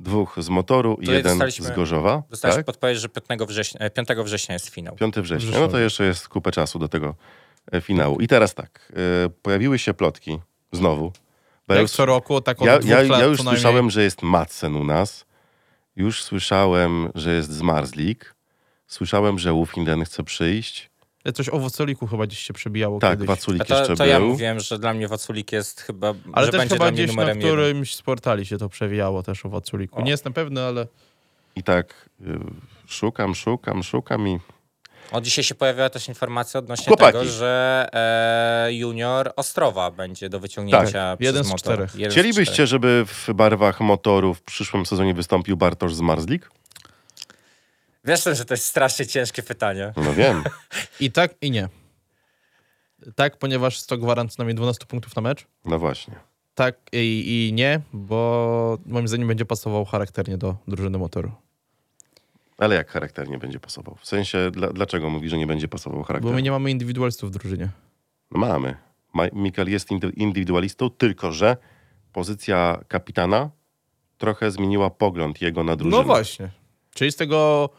[SPEAKER 2] dwóch z motoru i
[SPEAKER 4] Tutaj
[SPEAKER 2] jeden
[SPEAKER 4] dostaliśmy-
[SPEAKER 2] z Gorzowa.
[SPEAKER 4] Dostałeś
[SPEAKER 2] Tak?
[SPEAKER 4] podpowiedź, że 5 września, e, 5 września jest finał.
[SPEAKER 2] 5 września.
[SPEAKER 3] Rzeszowie.
[SPEAKER 2] No to jeszcze jest kupę czasu do tego e, finału. I teraz tak. e, Pojawiły się plotki znowu. Bo ja
[SPEAKER 3] Jak
[SPEAKER 2] już-
[SPEAKER 3] co roku, tak od
[SPEAKER 2] ja,
[SPEAKER 3] dwóch
[SPEAKER 2] ja,
[SPEAKER 3] lat
[SPEAKER 2] ja już
[SPEAKER 3] co najmniej.
[SPEAKER 2] słyszałem, że jest Madsen u nas. Już słyszałem, że jest Zmarzlik. Słyszałem, że Wolfenden chce przyjść.
[SPEAKER 3] Coś o Wocoliku chyba gdzieś się przebijało
[SPEAKER 2] Tak,
[SPEAKER 3] kiedyś.
[SPEAKER 2] Waculik
[SPEAKER 4] A to,
[SPEAKER 2] jeszcze
[SPEAKER 4] to
[SPEAKER 2] był.
[SPEAKER 4] ja mówiłem, że dla mnie Waculik jest chyba,
[SPEAKER 3] Ale
[SPEAKER 4] że
[SPEAKER 3] też
[SPEAKER 4] będzie
[SPEAKER 3] chyba
[SPEAKER 4] dla mnie
[SPEAKER 3] gdzieś na
[SPEAKER 4] numerem jeden.
[SPEAKER 3] którymś z portali się to przewijało też o Waculiku.
[SPEAKER 4] O.
[SPEAKER 3] Nie jestem pewny, ale
[SPEAKER 2] I tak y, szukam, szukam, szukam i
[SPEAKER 4] O, dzisiaj się pojawiła też informacja odnośnie
[SPEAKER 2] Chłopaki.
[SPEAKER 4] tego, że e, junior Ostrowa będzie do wyciągnięcia przez
[SPEAKER 3] Tak, Jeden z
[SPEAKER 4] motor.
[SPEAKER 3] czterech.
[SPEAKER 4] Jeden z czterech.
[SPEAKER 2] Chcielibyście, żeby w barwach motorów w przyszłym sezonie wystąpił Bartosz Zmarzlik?
[SPEAKER 4] Wiesz, że to jest strasznie ciężkie pytanie.
[SPEAKER 2] No wiem.
[SPEAKER 3] i tak i nie. Tak, ponieważ jest to gwarant co najmniej 12 punktów na mecz.
[SPEAKER 2] No właśnie.
[SPEAKER 3] Tak i, i nie, bo moim zdaniem będzie pasował charakternie do drużyny motoru.
[SPEAKER 2] Ale jak charakternie będzie pasował? W sensie, dla, dlaczego mówi, że nie będzie pasował
[SPEAKER 3] Bo
[SPEAKER 2] charakter?
[SPEAKER 3] my nie mamy indywidualistów w drużynie.
[SPEAKER 2] No Mamy. Ma- Mikael jest indy- indywidualistą, tylko że pozycja kapitana trochę zmieniła pogląd jego na drużynę.
[SPEAKER 3] No właśnie. Czyli z tego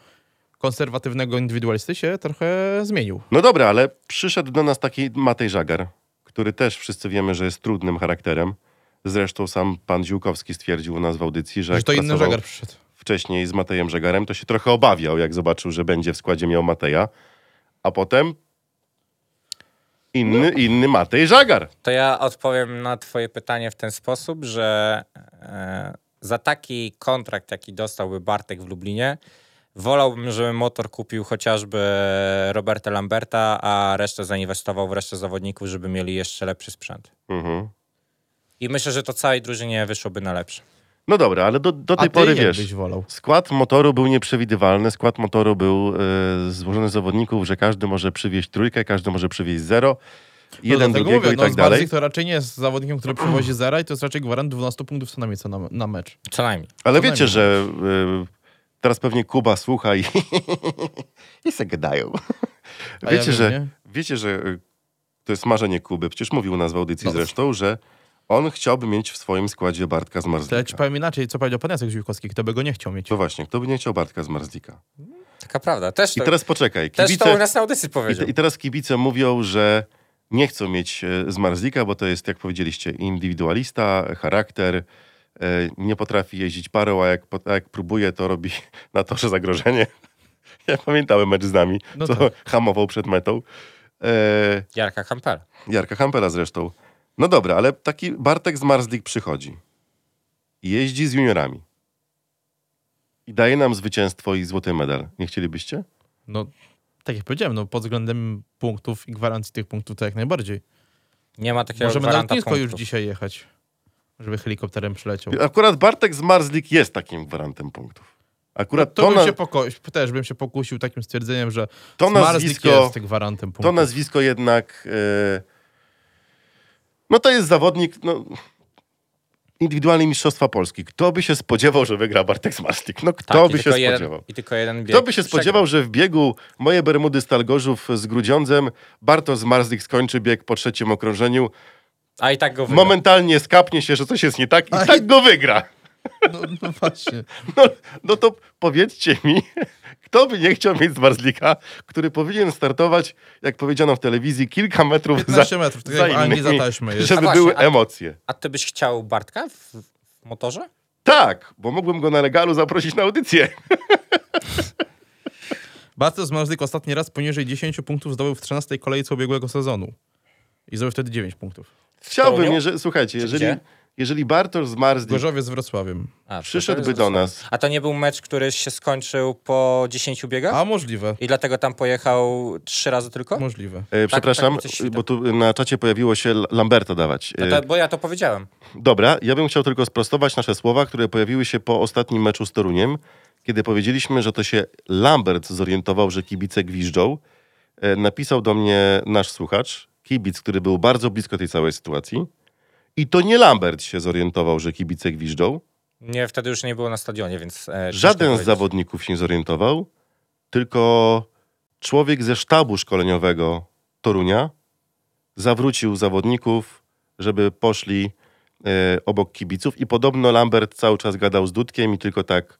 [SPEAKER 3] konserwatywnego indywidualisty się trochę zmienił.
[SPEAKER 2] No dobra, ale przyszedł do nas taki Matej Żagar, który też wszyscy wiemy, że jest trudnym charakterem. Zresztą sam pan Ziółkowski stwierdził u nas w audycji, że
[SPEAKER 3] Że
[SPEAKER 2] jak
[SPEAKER 3] to inny
[SPEAKER 2] pracował
[SPEAKER 3] żagar przyszedł.
[SPEAKER 2] wcześniej z Matejem Żagarem, to się trochę obawiał, jak zobaczył, że będzie w składzie miał Mateja, a potem
[SPEAKER 3] No.
[SPEAKER 2] inny, inny Matej Żagar.
[SPEAKER 4] To ja odpowiem na twoje pytanie w ten sposób, że e, za taki kontrakt, jaki dostałby Bartek w Lublinie, wolałbym, żeby motor kupił chociażby Roberta Lamberta, a resztę zainwestował w resztę zawodników, żeby mieli jeszcze lepszy sprzęt.
[SPEAKER 2] Mhm.
[SPEAKER 4] I myślę, że to całej drużynie wyszłoby na lepsze.
[SPEAKER 2] No dobra, ale do, do
[SPEAKER 3] A
[SPEAKER 2] tej
[SPEAKER 3] ty
[SPEAKER 2] pory
[SPEAKER 3] jak
[SPEAKER 2] wiesz.
[SPEAKER 3] byś wolał?
[SPEAKER 2] Skład motoru był nieprzewidywalny, skład motoru był e, złożony z zawodników, że każdy może przywieźć trójkę, każdy może przywieźć zero, jeden
[SPEAKER 3] no dlatego
[SPEAKER 2] drugiego
[SPEAKER 3] mówię,
[SPEAKER 2] i
[SPEAKER 3] no
[SPEAKER 2] tak
[SPEAKER 3] z
[SPEAKER 2] dalej.
[SPEAKER 3] Bardziej to raczej nie jest zawodnikiem, który przywozi zera i to jest raczej gwarant 12 punktów co najmniej co na, na mecz.
[SPEAKER 4] Co najmniej.
[SPEAKER 2] Ale
[SPEAKER 3] Co
[SPEAKER 2] wiecie,
[SPEAKER 3] najmniej.
[SPEAKER 2] że y, teraz pewnie Kuba słucha i, *laughs* i se gadają.
[SPEAKER 3] A
[SPEAKER 2] Wiecie,
[SPEAKER 3] ja wiem,
[SPEAKER 2] że,
[SPEAKER 3] nie?
[SPEAKER 2] wiecie, że y, to jest marzenie Kuby. Przecież mówił u nas w audycji
[SPEAKER 3] No.
[SPEAKER 2] zresztą, że on chciałby mieć w swoim składzie Bartka
[SPEAKER 3] To ja ci
[SPEAKER 2] Zmarzlika.
[SPEAKER 3] powiem inaczej, co powiedział pan Jacek Ziółkowski, kto by go nie chciał mieć.
[SPEAKER 2] To właśnie, kto by nie chciał Bartka Zmarzlika?
[SPEAKER 4] Taka prawda. Też
[SPEAKER 2] I
[SPEAKER 3] Tak.
[SPEAKER 4] to,
[SPEAKER 2] teraz poczekaj.
[SPEAKER 4] też to u
[SPEAKER 2] Kibice,
[SPEAKER 4] nas na audycji
[SPEAKER 2] i, te-
[SPEAKER 4] powiedział.
[SPEAKER 2] I teraz kibice mówią, że nie chcą mieć y, Zmarzlika, bo to jest, jak powiedzieliście, indywidualista, charakter, y, nie potrafi jeździć parą, a jak, po- a jak próbuje, to robi *laughs* na torze zagrożenie. *laughs* Ja pamiętałem mecz z nami,
[SPEAKER 3] No
[SPEAKER 2] co
[SPEAKER 3] tak.
[SPEAKER 2] *laughs* hamował przed metą. E,
[SPEAKER 4] Jarka Kampel.
[SPEAKER 2] Jarka Hampela zresztą. No dobra, ale taki Bartek z Marzlik przychodzi. i Jeździ z juniorami. I daje nam zwycięstwo i złoty medal. Nie chcielibyście?
[SPEAKER 3] No, tak jak powiedziałem, no pod względem punktów i gwarancji tych punktów to jak najbardziej.
[SPEAKER 4] Nie ma takiego
[SPEAKER 3] Możemy nawet
[SPEAKER 4] gwaranta
[SPEAKER 3] nisko już
[SPEAKER 4] punktów.
[SPEAKER 3] dzisiaj jechać, żeby helikopterem przyleciał.
[SPEAKER 2] Akurat Bartek z Marzlik jest takim gwarantem punktów. Akurat
[SPEAKER 3] No, To
[SPEAKER 2] to,
[SPEAKER 3] bym
[SPEAKER 2] na,
[SPEAKER 3] się poko- też bym się pokusił takim stwierdzeniem, że
[SPEAKER 2] to
[SPEAKER 3] Smarzlik
[SPEAKER 2] nazwisko,
[SPEAKER 3] jest gwarantem punktów.
[SPEAKER 2] to nazwisko jednak... e, no to jest zawodnik... No, indywidualny Mistrzostwa Polski. Kto by się spodziewał, że wygra Bartek z Marzlik? No kto
[SPEAKER 4] Tak, i
[SPEAKER 2] by się
[SPEAKER 4] tylko jeden-
[SPEAKER 2] spodziewał?
[SPEAKER 4] I tylko jeden bieg.
[SPEAKER 2] Kto by się spodziewał, że w biegu moje Bermudy Stalgorzów z Grudziądzem Bartosz Marzlik skończy bieg po trzecim okrążeniu.
[SPEAKER 4] A i tak go wygrał.
[SPEAKER 2] Momentalnie skapnie się, że coś jest nie tak i
[SPEAKER 3] Aj.
[SPEAKER 2] tak go wygra.
[SPEAKER 3] *laughs* No, no
[SPEAKER 2] *laughs*
[SPEAKER 3] właśnie.
[SPEAKER 2] No, no to powiedzcie mi, *laughs* kto by nie chciał mieć Marzlika, który powinien startować, jak powiedziano w telewizji, kilka metrów
[SPEAKER 3] 15
[SPEAKER 2] za,
[SPEAKER 3] metrów, tak
[SPEAKER 2] za
[SPEAKER 3] jak w Anglii za
[SPEAKER 2] innymi,
[SPEAKER 3] taśmę jest.
[SPEAKER 2] żeby
[SPEAKER 4] A właśnie,
[SPEAKER 2] były
[SPEAKER 4] a-
[SPEAKER 2] emocje.
[SPEAKER 4] A ty byś chciał Bartka w, w motorze?
[SPEAKER 2] Tak, bo mógłbym go na legalu zaprosić na audycję.
[SPEAKER 3] Bartosz Marzyk ostatni raz poniżej 10 punktów zdobył w 13 kolejce ubiegłego sezonu. I zdobył wtedy 9 punktów.
[SPEAKER 2] Chciałbym,
[SPEAKER 4] Toruniu?
[SPEAKER 2] jeżeli, słuchajcie,
[SPEAKER 4] Czy
[SPEAKER 2] jeżeli,
[SPEAKER 4] gdzie?
[SPEAKER 2] jeżeli Bartosz Zmarzlik
[SPEAKER 3] Gorzowie z Wrocławiem.
[SPEAKER 4] A, to to
[SPEAKER 2] przyszedłby
[SPEAKER 4] jest
[SPEAKER 2] do
[SPEAKER 4] dosyć-
[SPEAKER 2] nas,
[SPEAKER 4] A to nie był mecz, który się skończył po 10 biegach?
[SPEAKER 3] A możliwe,
[SPEAKER 4] I dlatego tam pojechał trzy razy tylko?
[SPEAKER 3] możliwe.
[SPEAKER 2] e, przepraszam,
[SPEAKER 4] tak, coś się
[SPEAKER 2] bo tu na czacie pojawiło się L- Lamberta dawać. E,
[SPEAKER 4] No to, bo ja to powiedziałem.
[SPEAKER 2] Dobra, ja bym chciał tylko sprostować nasze słowa, które pojawiły się po ostatnim meczu z Toruniem, kiedy powiedzieliśmy, że to się Lambert zorientował, że kibice gwiżdżą. E, Napisał do mnie nasz słuchacz, kibic, który był bardzo blisko tej całej sytuacji. I to nie Lambert się zorientował, że kibice gwiżdżą.
[SPEAKER 4] Nie, wtedy już nie było na stadionie, więc... e, ciężko
[SPEAKER 2] Żaden z
[SPEAKER 4] powiedzieć.
[SPEAKER 2] zawodników się nie zorientował, tylko człowiek ze sztabu szkoleniowego Torunia zawrócił zawodników, żeby poszli e, obok kibiców i podobno Lambert cały czas gadał z Dudkiem i tylko tak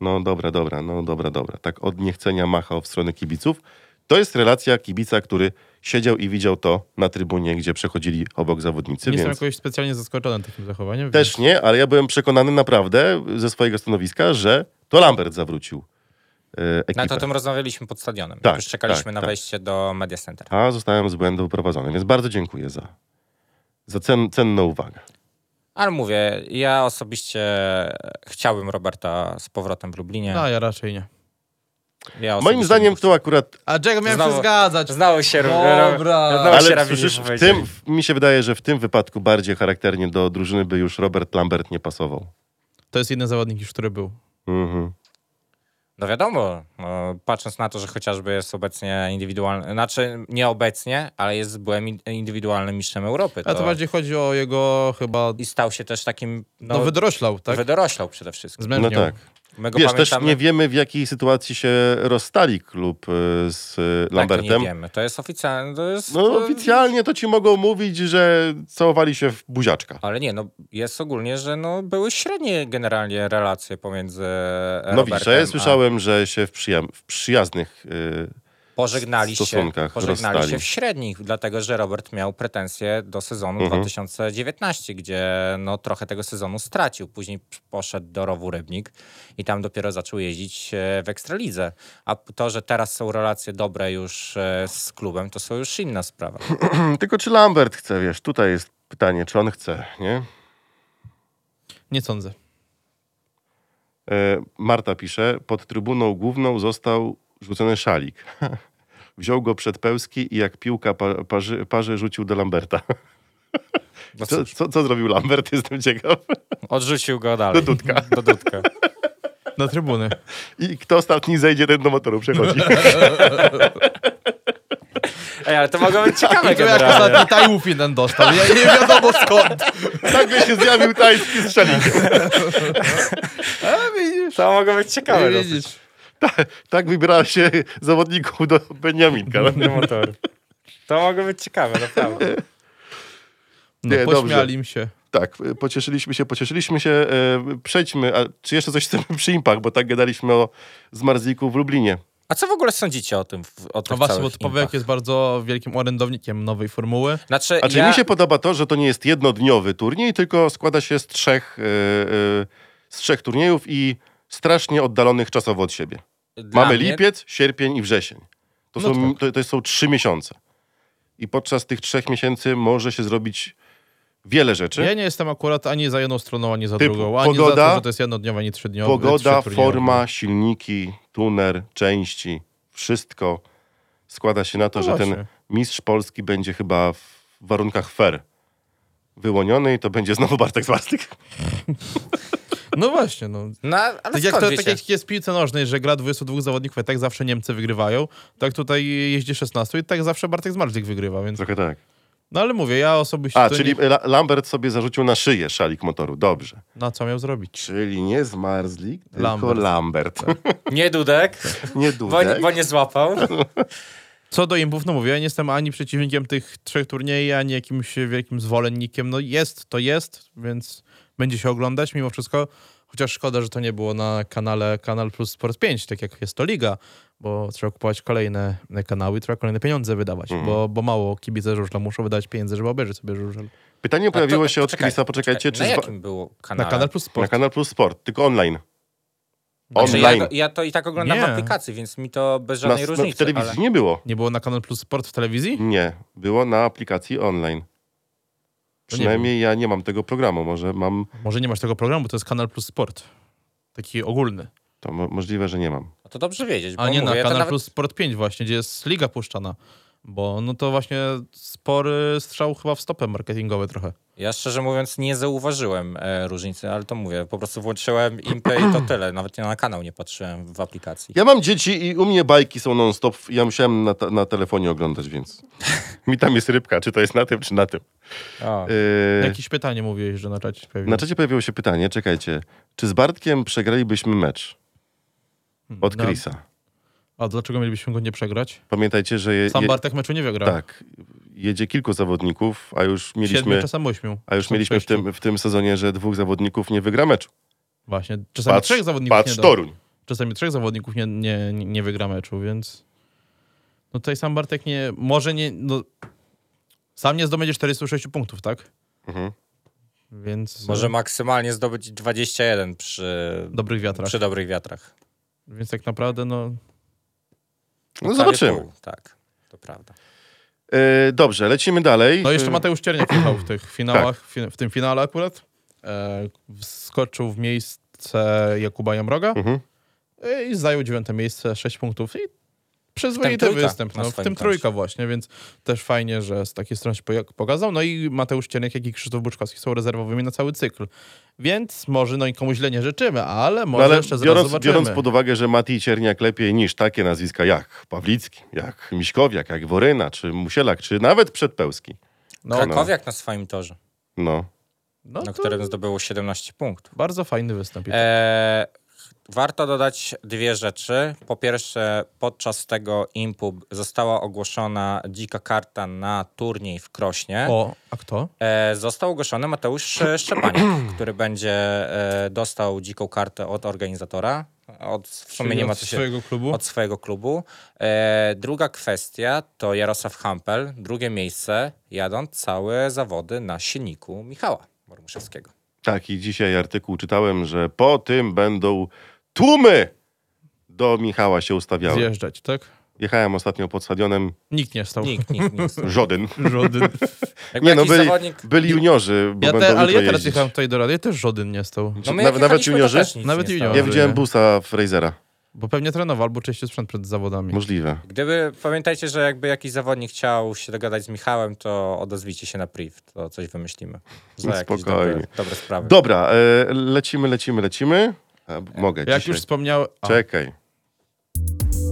[SPEAKER 2] no dobra, dobra, no dobra, dobra. Tak od niechcenia machał w stronę kibiców. To jest relacja kibica, który siedział i widział to na trybunie, gdzie przechodzili obok zawodnicy.
[SPEAKER 3] Nie jestem
[SPEAKER 2] więc...
[SPEAKER 3] jakoś specjalnie zaskoczony takim zachowaniem.
[SPEAKER 2] Też nie, ale ja byłem przekonany naprawdę ze swojego stanowiska, że to Lambert zawrócił e, ekipę.
[SPEAKER 4] No to o tym rozmawialiśmy pod stadionem.
[SPEAKER 2] Tak,
[SPEAKER 4] Tak, już czekaliśmy
[SPEAKER 2] tak,
[SPEAKER 4] na
[SPEAKER 2] tak.
[SPEAKER 4] wejście do Media Center.
[SPEAKER 2] A zostałem z błędu wyprowadzony, więc bardzo dziękuję za, za cen, cenną uwagę.
[SPEAKER 4] Ale mówię, ja osobiście chciałbym Roberta z powrotem w Lublinie.
[SPEAKER 3] No, ja raczej nie.
[SPEAKER 4] Ja
[SPEAKER 2] Tak. Moim
[SPEAKER 4] osobiście-
[SPEAKER 2] zdaniem to akurat...
[SPEAKER 3] A Jack miałem
[SPEAKER 4] Znowu-
[SPEAKER 3] się zgadzać.
[SPEAKER 4] Znało się
[SPEAKER 3] Dobra.
[SPEAKER 4] Znało się
[SPEAKER 2] Ale
[SPEAKER 4] Rawili,
[SPEAKER 2] słyszysz, w
[SPEAKER 4] powiedzieli.
[SPEAKER 2] tym, w- mi się wydaje, że w tym wypadku bardziej charakternie do drużyny by już Robert Lambert nie pasował.
[SPEAKER 3] To jest jeden zawodnik już, który był.
[SPEAKER 2] Mhm.
[SPEAKER 4] No wiadomo, no, patrząc na to, że chociażby jest obecnie indywidualny, znaczy nie obecnie, ale jest byłem in- indywidualnym mistrzem Europy.
[SPEAKER 3] Ale
[SPEAKER 4] To,
[SPEAKER 3] to
[SPEAKER 2] Tak.
[SPEAKER 3] bardziej chodzi o jego chyba...
[SPEAKER 4] I stał się też takim, no,
[SPEAKER 3] No, wydroślał, tak?
[SPEAKER 4] wydoroślał przede wszystkim.
[SPEAKER 2] No
[SPEAKER 3] Zmęczniał.
[SPEAKER 2] tak.
[SPEAKER 4] My go
[SPEAKER 2] Wiesz, też
[SPEAKER 4] pamiętamy,
[SPEAKER 2] nie wiemy w jakiej sytuacji się rozstali klub e, z e, Lambertem.
[SPEAKER 4] Tak, nie wiemy. To jest oficjalne, to jest... e,
[SPEAKER 2] No oficjalnie to ci mogą mówić, że całowali się w buziaczka.
[SPEAKER 4] Ale nie, no jest ogólnie, że no, były średnie generalnie relacje pomiędzy e,
[SPEAKER 2] No
[SPEAKER 4] Robertem
[SPEAKER 2] widzisz, ja
[SPEAKER 4] a-
[SPEAKER 2] słyszałem, że się w, przyjam- w przyjaznych... y,
[SPEAKER 4] pożegnali się,
[SPEAKER 2] stosunkach
[SPEAKER 4] pożegnali
[SPEAKER 2] rozstali.
[SPEAKER 4] się w średnich, dlatego że Robert miał pretensje do sezonu
[SPEAKER 3] Mhm.
[SPEAKER 4] 2019, gdzie no, trochę tego sezonu stracił. Później p- poszedł do Rowu Rybnik i tam dopiero zaczął jeździć e, w Ekstralidze. A p- to, że teraz są relacje dobre już e, z klubem, to są już inna
[SPEAKER 3] *laughs*
[SPEAKER 4] sprawa.
[SPEAKER 2] Hmm, Tylko czy Lambert chce, wiesz, tutaj jest pytanie, czy on chce, nie?
[SPEAKER 3] Nie sądzę.
[SPEAKER 2] E, Marta pisze, pod trybuną główną został rzucony szalik. *laughs* Wziął go przed pełski i jak piłka pa- parzy, parzy rzucił do Lamberta.
[SPEAKER 4] No
[SPEAKER 2] Co,
[SPEAKER 4] cóż,
[SPEAKER 2] co, co zrobił Lambert? Jestem ciekaw.
[SPEAKER 4] odrzucił go dalej. Do
[SPEAKER 3] *laughs*
[SPEAKER 2] Dudka.
[SPEAKER 4] Do Dudka.
[SPEAKER 2] *laughs*
[SPEAKER 3] Na trybuny.
[SPEAKER 2] I kto ostatni zejdzie, ten do motoru
[SPEAKER 4] *laughs*
[SPEAKER 2] przechodzi.
[SPEAKER 4] Ej, ale to
[SPEAKER 3] *laughs*
[SPEAKER 4] mogą być ciekawe
[SPEAKER 3] To jak
[SPEAKER 4] generalnie.
[SPEAKER 3] ostatni tajów jeden dostał. Ja nie wiadomo skąd.
[SPEAKER 2] Nagle się zjawił tajski z szalikiem.
[SPEAKER 3] A widzisz.
[SPEAKER 4] To mogą być ciekawe. no dosyć.
[SPEAKER 3] widzisz.
[SPEAKER 2] Tak wybiera się zawodników do Beniaminka.
[SPEAKER 4] Do motoru. To mogą być ciekawe, naprawdę.
[SPEAKER 3] No,
[SPEAKER 2] Nie, dobrze.
[SPEAKER 3] pośmiali im się.
[SPEAKER 2] Tak, y, pocieszyliśmy się, pocieszyliśmy się. e, Przejdźmy, a czy jeszcze coś chcemy przy impach, bo tak gadaliśmy o zmarzliku w Lublinie.
[SPEAKER 4] A co w ogóle sądzicie o tym? w- O
[SPEAKER 3] No
[SPEAKER 4] tych
[SPEAKER 3] właśnie, bo
[SPEAKER 4] całych
[SPEAKER 3] Pawełek
[SPEAKER 4] impach?
[SPEAKER 3] jest bardzo wielkim orędownikiem nowej formuły.
[SPEAKER 4] Znaczy,
[SPEAKER 2] A czy
[SPEAKER 4] ja,
[SPEAKER 2] mi się podoba to, że to nie jest jednodniowy turniej, tylko składa się z trzech, e, e, z trzech turniejów i strasznie oddalonych czasowo od siebie.
[SPEAKER 4] dla
[SPEAKER 2] Mamy
[SPEAKER 4] mnie- tak.
[SPEAKER 2] lipiec, sierpień i wrzesień. To,
[SPEAKER 3] No
[SPEAKER 2] są, to, to są trzy miesiące. I podczas tych trzech miesięcy może się zrobić wiele rzeczy.
[SPEAKER 3] Ja nie jestem akurat ani za jedną stroną, ani za
[SPEAKER 2] Typu
[SPEAKER 3] drugą. Ani
[SPEAKER 2] pogoda,
[SPEAKER 3] za to, że to jest jednodniowe, ani trzydniowe.
[SPEAKER 2] Pogoda,
[SPEAKER 3] trzyturniejowe.
[SPEAKER 2] forma, silniki, tuner, części, wszystko składa się na to,
[SPEAKER 3] No
[SPEAKER 2] że ten
[SPEAKER 3] właśnie.
[SPEAKER 2] mistrz Polski będzie chyba w warunkach fair wyłoniony i to będzie znowu Bartek Zwarstyk.
[SPEAKER 3] No właśnie, no.
[SPEAKER 4] No, ale
[SPEAKER 3] Tak
[SPEAKER 4] skąd
[SPEAKER 3] jak, to,
[SPEAKER 4] wiecie?
[SPEAKER 3] tak jak jest w piłce nożnej, że gra 22 zawodników, i tak zawsze Niemcy wygrywają, tak tutaj jeździ 16 i tak zawsze Bartek Zmarzlik wygrywa, więc...
[SPEAKER 2] Trochę tak.
[SPEAKER 3] No ale mówię, ja osobiście...
[SPEAKER 2] A,
[SPEAKER 3] to
[SPEAKER 2] czyli
[SPEAKER 3] Nie...
[SPEAKER 2] La- Lambert sobie zarzucił na szyję szalik motoru. Dobrze.
[SPEAKER 3] Na co miał zrobić?
[SPEAKER 2] Czyli nie zmarzlik, tylko Lambert. Tak.
[SPEAKER 3] Lambert.
[SPEAKER 4] Nie Dudek,
[SPEAKER 2] *laughs* nie
[SPEAKER 4] bo,
[SPEAKER 2] Dudek.
[SPEAKER 4] nie- bo nie
[SPEAKER 2] *laughs*
[SPEAKER 4] złapał.
[SPEAKER 3] Co do impów, no mówię, ja nie jestem ani przeciwnikiem tych trzech turniejów, ani jakimś wielkim zwolennikiem. No jest, to jest, więc będzie się oglądać mimo wszystko. Chociaż szkoda, że to nie było na kanale Kanal Plus Sport 5, tak jak jest to Liga, bo trzeba kupować kolejne kanały, trzeba kolejne pieniądze wydawać, bo, bo mało kibice żużla muszą wydać pieniędze, żeby obejrzeć sobie żużel.
[SPEAKER 2] Pytanie
[SPEAKER 4] A
[SPEAKER 2] pojawiło
[SPEAKER 4] to-
[SPEAKER 2] się od
[SPEAKER 4] czekaj,
[SPEAKER 2] Krisa, poczekajcie,
[SPEAKER 4] czekaj,
[SPEAKER 2] czy
[SPEAKER 4] No, Na
[SPEAKER 2] zwa-
[SPEAKER 4] jakim było
[SPEAKER 3] Na
[SPEAKER 4] kanale?
[SPEAKER 3] Kanal Plus
[SPEAKER 2] na
[SPEAKER 3] Sport.
[SPEAKER 2] Kanal Plus Sport, tylko online.
[SPEAKER 4] Znaczy, ja,
[SPEAKER 2] Online.
[SPEAKER 4] go- ja to i tak oglądam
[SPEAKER 3] Nie.
[SPEAKER 4] w aplikacji, więc mi to bez
[SPEAKER 2] Na,
[SPEAKER 4] żadnej
[SPEAKER 2] no,
[SPEAKER 4] różnicy.
[SPEAKER 2] w telewizji
[SPEAKER 4] ale...
[SPEAKER 2] nie było.
[SPEAKER 3] Nie było na Kanal Plus Sport w telewizji?
[SPEAKER 2] Nie, było na aplikacji online. Przynajmniej ja nie mam tego programu. Może mam,
[SPEAKER 3] Może nie masz tego programu, bo to jest Kanal Plus Sport. Taki ogólny.
[SPEAKER 2] to mo- możliwe, że nie mam.
[SPEAKER 4] No To dobrze wiedzieć, bo
[SPEAKER 3] A nie
[SPEAKER 4] mówię,
[SPEAKER 3] na
[SPEAKER 4] ja to
[SPEAKER 3] Kanal
[SPEAKER 4] nawet...
[SPEAKER 3] Plus Sport 5 właśnie, gdzie jest liga puszczana. Bo no to właśnie spory strzał chyba w stopę marketingowe trochę.
[SPEAKER 4] Ja szczerze mówiąc nie zauważyłem e, różnicy, ale to mówię, po prostu włączyłem impę
[SPEAKER 2] *clears throat*
[SPEAKER 4] i to tyle. Nawet na kanał nie patrzyłem w aplikacji.
[SPEAKER 2] Ja mam dzieci i u mnie bajki są non-stop. Ja musiałem na, ta- na telefonie oglądać, więc. *laughs* Mi tam jest rybka, czy to jest na tym, czy na tym.
[SPEAKER 4] O,
[SPEAKER 2] Yy,
[SPEAKER 3] Jakieś pytanie mówiłeś, że na czacie się pojawiło.
[SPEAKER 2] na czacie pojawiło się pytanie, czekajcie. Czy z Bartkiem przegralibyśmy mecz? Od
[SPEAKER 3] No.
[SPEAKER 2] Chrisa.
[SPEAKER 3] A dlaczego mielibyśmy go nie przegrać?
[SPEAKER 2] Pamiętajcie, że. Je,
[SPEAKER 3] Sam
[SPEAKER 2] je,
[SPEAKER 3] Bartek meczu nie wygrał.
[SPEAKER 2] tak. Jedzie kilku zawodników, a już
[SPEAKER 3] Siedmiu,
[SPEAKER 2] mieliśmy,
[SPEAKER 3] czasem ośmiu.
[SPEAKER 2] a już
[SPEAKER 3] czasem
[SPEAKER 2] mieliśmy w,
[SPEAKER 3] sześciu.
[SPEAKER 2] tym, w tym sezonie, że dwóch zawodników nie wygra meczu.
[SPEAKER 3] Właśnie, czasami
[SPEAKER 2] Patrz,
[SPEAKER 3] trzech zawodników
[SPEAKER 2] patrz
[SPEAKER 3] nie da.
[SPEAKER 2] Toruń.
[SPEAKER 3] Czasami trzech zawodników nie, nie, nie wygra meczu, więc... No tutaj sam Bartek nie... Może nie... No, sam nie zdobędzie 46 punktów, tak?
[SPEAKER 2] Mhm.
[SPEAKER 3] Więc...
[SPEAKER 4] może maksymalnie zdobyć 21 przy,
[SPEAKER 3] Dobrych wiatrach.
[SPEAKER 4] przy dobrych wiatrach.
[SPEAKER 3] Więc tak naprawdę, no...
[SPEAKER 2] No
[SPEAKER 4] Prawie
[SPEAKER 2] zobaczymy.
[SPEAKER 4] pół, Tak, to prawda.
[SPEAKER 2] Yy, dobrze, lecimy dalej.
[SPEAKER 3] No jeszcze
[SPEAKER 2] Yy, Tak.
[SPEAKER 3] Mateusz Cierniak jechał w tych finałach, fi- w tym finale akurat. E, wskoczył w miejsce Jakuba Jamroga
[SPEAKER 2] Mhm.
[SPEAKER 3] e, i zajął dziewiąte miejsce, sześć punktów i przyzwoity
[SPEAKER 4] trójka
[SPEAKER 3] występ.
[SPEAKER 4] na
[SPEAKER 3] No, w
[SPEAKER 4] swoim
[SPEAKER 3] tym
[SPEAKER 4] koncie.
[SPEAKER 3] trójka właśnie, więc też fajnie, że z takiej strony się poja- pokazał. No i Mateusz Cierniak, jak i Krzysztof Buczkowski są rezerwowymi na cały cykl. Więc może no i komu źle nie życzymy, ale
[SPEAKER 2] No
[SPEAKER 3] może
[SPEAKER 2] ale
[SPEAKER 3] jeszcze zaraz
[SPEAKER 2] biorąc,
[SPEAKER 3] zobaczymy.
[SPEAKER 2] biorąc pod uwagę, że Mati i Cierniak lepiej niż takie nazwiska jak Pawlicki, jak Miśkowiak, jak Woryna, czy Musielak, czy nawet Przedpełski.
[SPEAKER 3] no,
[SPEAKER 4] Krakowiak na swoim torze,
[SPEAKER 2] No.
[SPEAKER 3] no
[SPEAKER 4] na
[SPEAKER 3] to tak.
[SPEAKER 4] którym zdobyło 17 punktów.
[SPEAKER 3] bardzo fajny występ.
[SPEAKER 4] E, warto dodać dwie rzeczy. Po pierwsze, podczas tego impu została ogłoszona dzika karta na turniej w Krośnie.
[SPEAKER 3] O, a kto?
[SPEAKER 4] E, został ogłoszony Mateusz e, Szczepaniak,
[SPEAKER 3] *clears throat*
[SPEAKER 4] który będzie e, dostał dziką kartę od organizatora. Od, w sumie
[SPEAKER 3] Czyli
[SPEAKER 4] nie ma
[SPEAKER 3] od
[SPEAKER 4] co się
[SPEAKER 3] swojego klubu?
[SPEAKER 4] od swojego klubu. E, druga kwestia to Jarosław Hampel, drugie miejsce, jadąc całe zawody na silniku Michała Mormuszewskiego.
[SPEAKER 2] Tak, i dzisiaj artykuł czytałem, że po tym będą tłumy do Michała się ustawiały.
[SPEAKER 3] Zjeżdżać, tak?
[SPEAKER 2] Jechałem ostatnio pod stadionem
[SPEAKER 3] Nikt nie stał.
[SPEAKER 4] Nikt, nikt, nikt.
[SPEAKER 2] *laughs* Żodyn.
[SPEAKER 3] Żodyn.
[SPEAKER 4] Jakby
[SPEAKER 2] Nie no,
[SPEAKER 4] jakiś
[SPEAKER 2] byli,
[SPEAKER 4] zawodnik...
[SPEAKER 2] byli juniorzy, bo
[SPEAKER 3] Ja
[SPEAKER 2] będą
[SPEAKER 3] te, ale
[SPEAKER 2] jutro
[SPEAKER 3] ja teraz
[SPEAKER 2] jeździć.
[SPEAKER 3] jechałem tutaj do rady, ja też Żodyn nie stał.
[SPEAKER 4] No my
[SPEAKER 2] Nawet-
[SPEAKER 4] jak
[SPEAKER 2] nawet
[SPEAKER 4] jechaliśmy, to
[SPEAKER 2] juniorzy?
[SPEAKER 4] też nic
[SPEAKER 3] Nawet
[SPEAKER 4] nie
[SPEAKER 3] juniorzy.
[SPEAKER 2] Ja
[SPEAKER 4] stało.
[SPEAKER 2] widziałem busa Frasera.
[SPEAKER 3] Bo pewnie trenował albo czyścił sprzęt przed zawodami.
[SPEAKER 2] Możliwe.
[SPEAKER 4] Gdyby, pamiętajcie, że jakby jakiś zawodnik chciał się dogadać z Michałem, to odezwijcie się na priv, to coś wymyślimy. Za jakieś
[SPEAKER 2] Spokojnie.
[SPEAKER 4] dobre, dobre sprawy.
[SPEAKER 2] Dobra, e, lecimy, lecimy, lecimy. A, b- mogę
[SPEAKER 3] Jak
[SPEAKER 2] dzisiaj.
[SPEAKER 3] już wspomniałem... a,
[SPEAKER 2] Czekaj.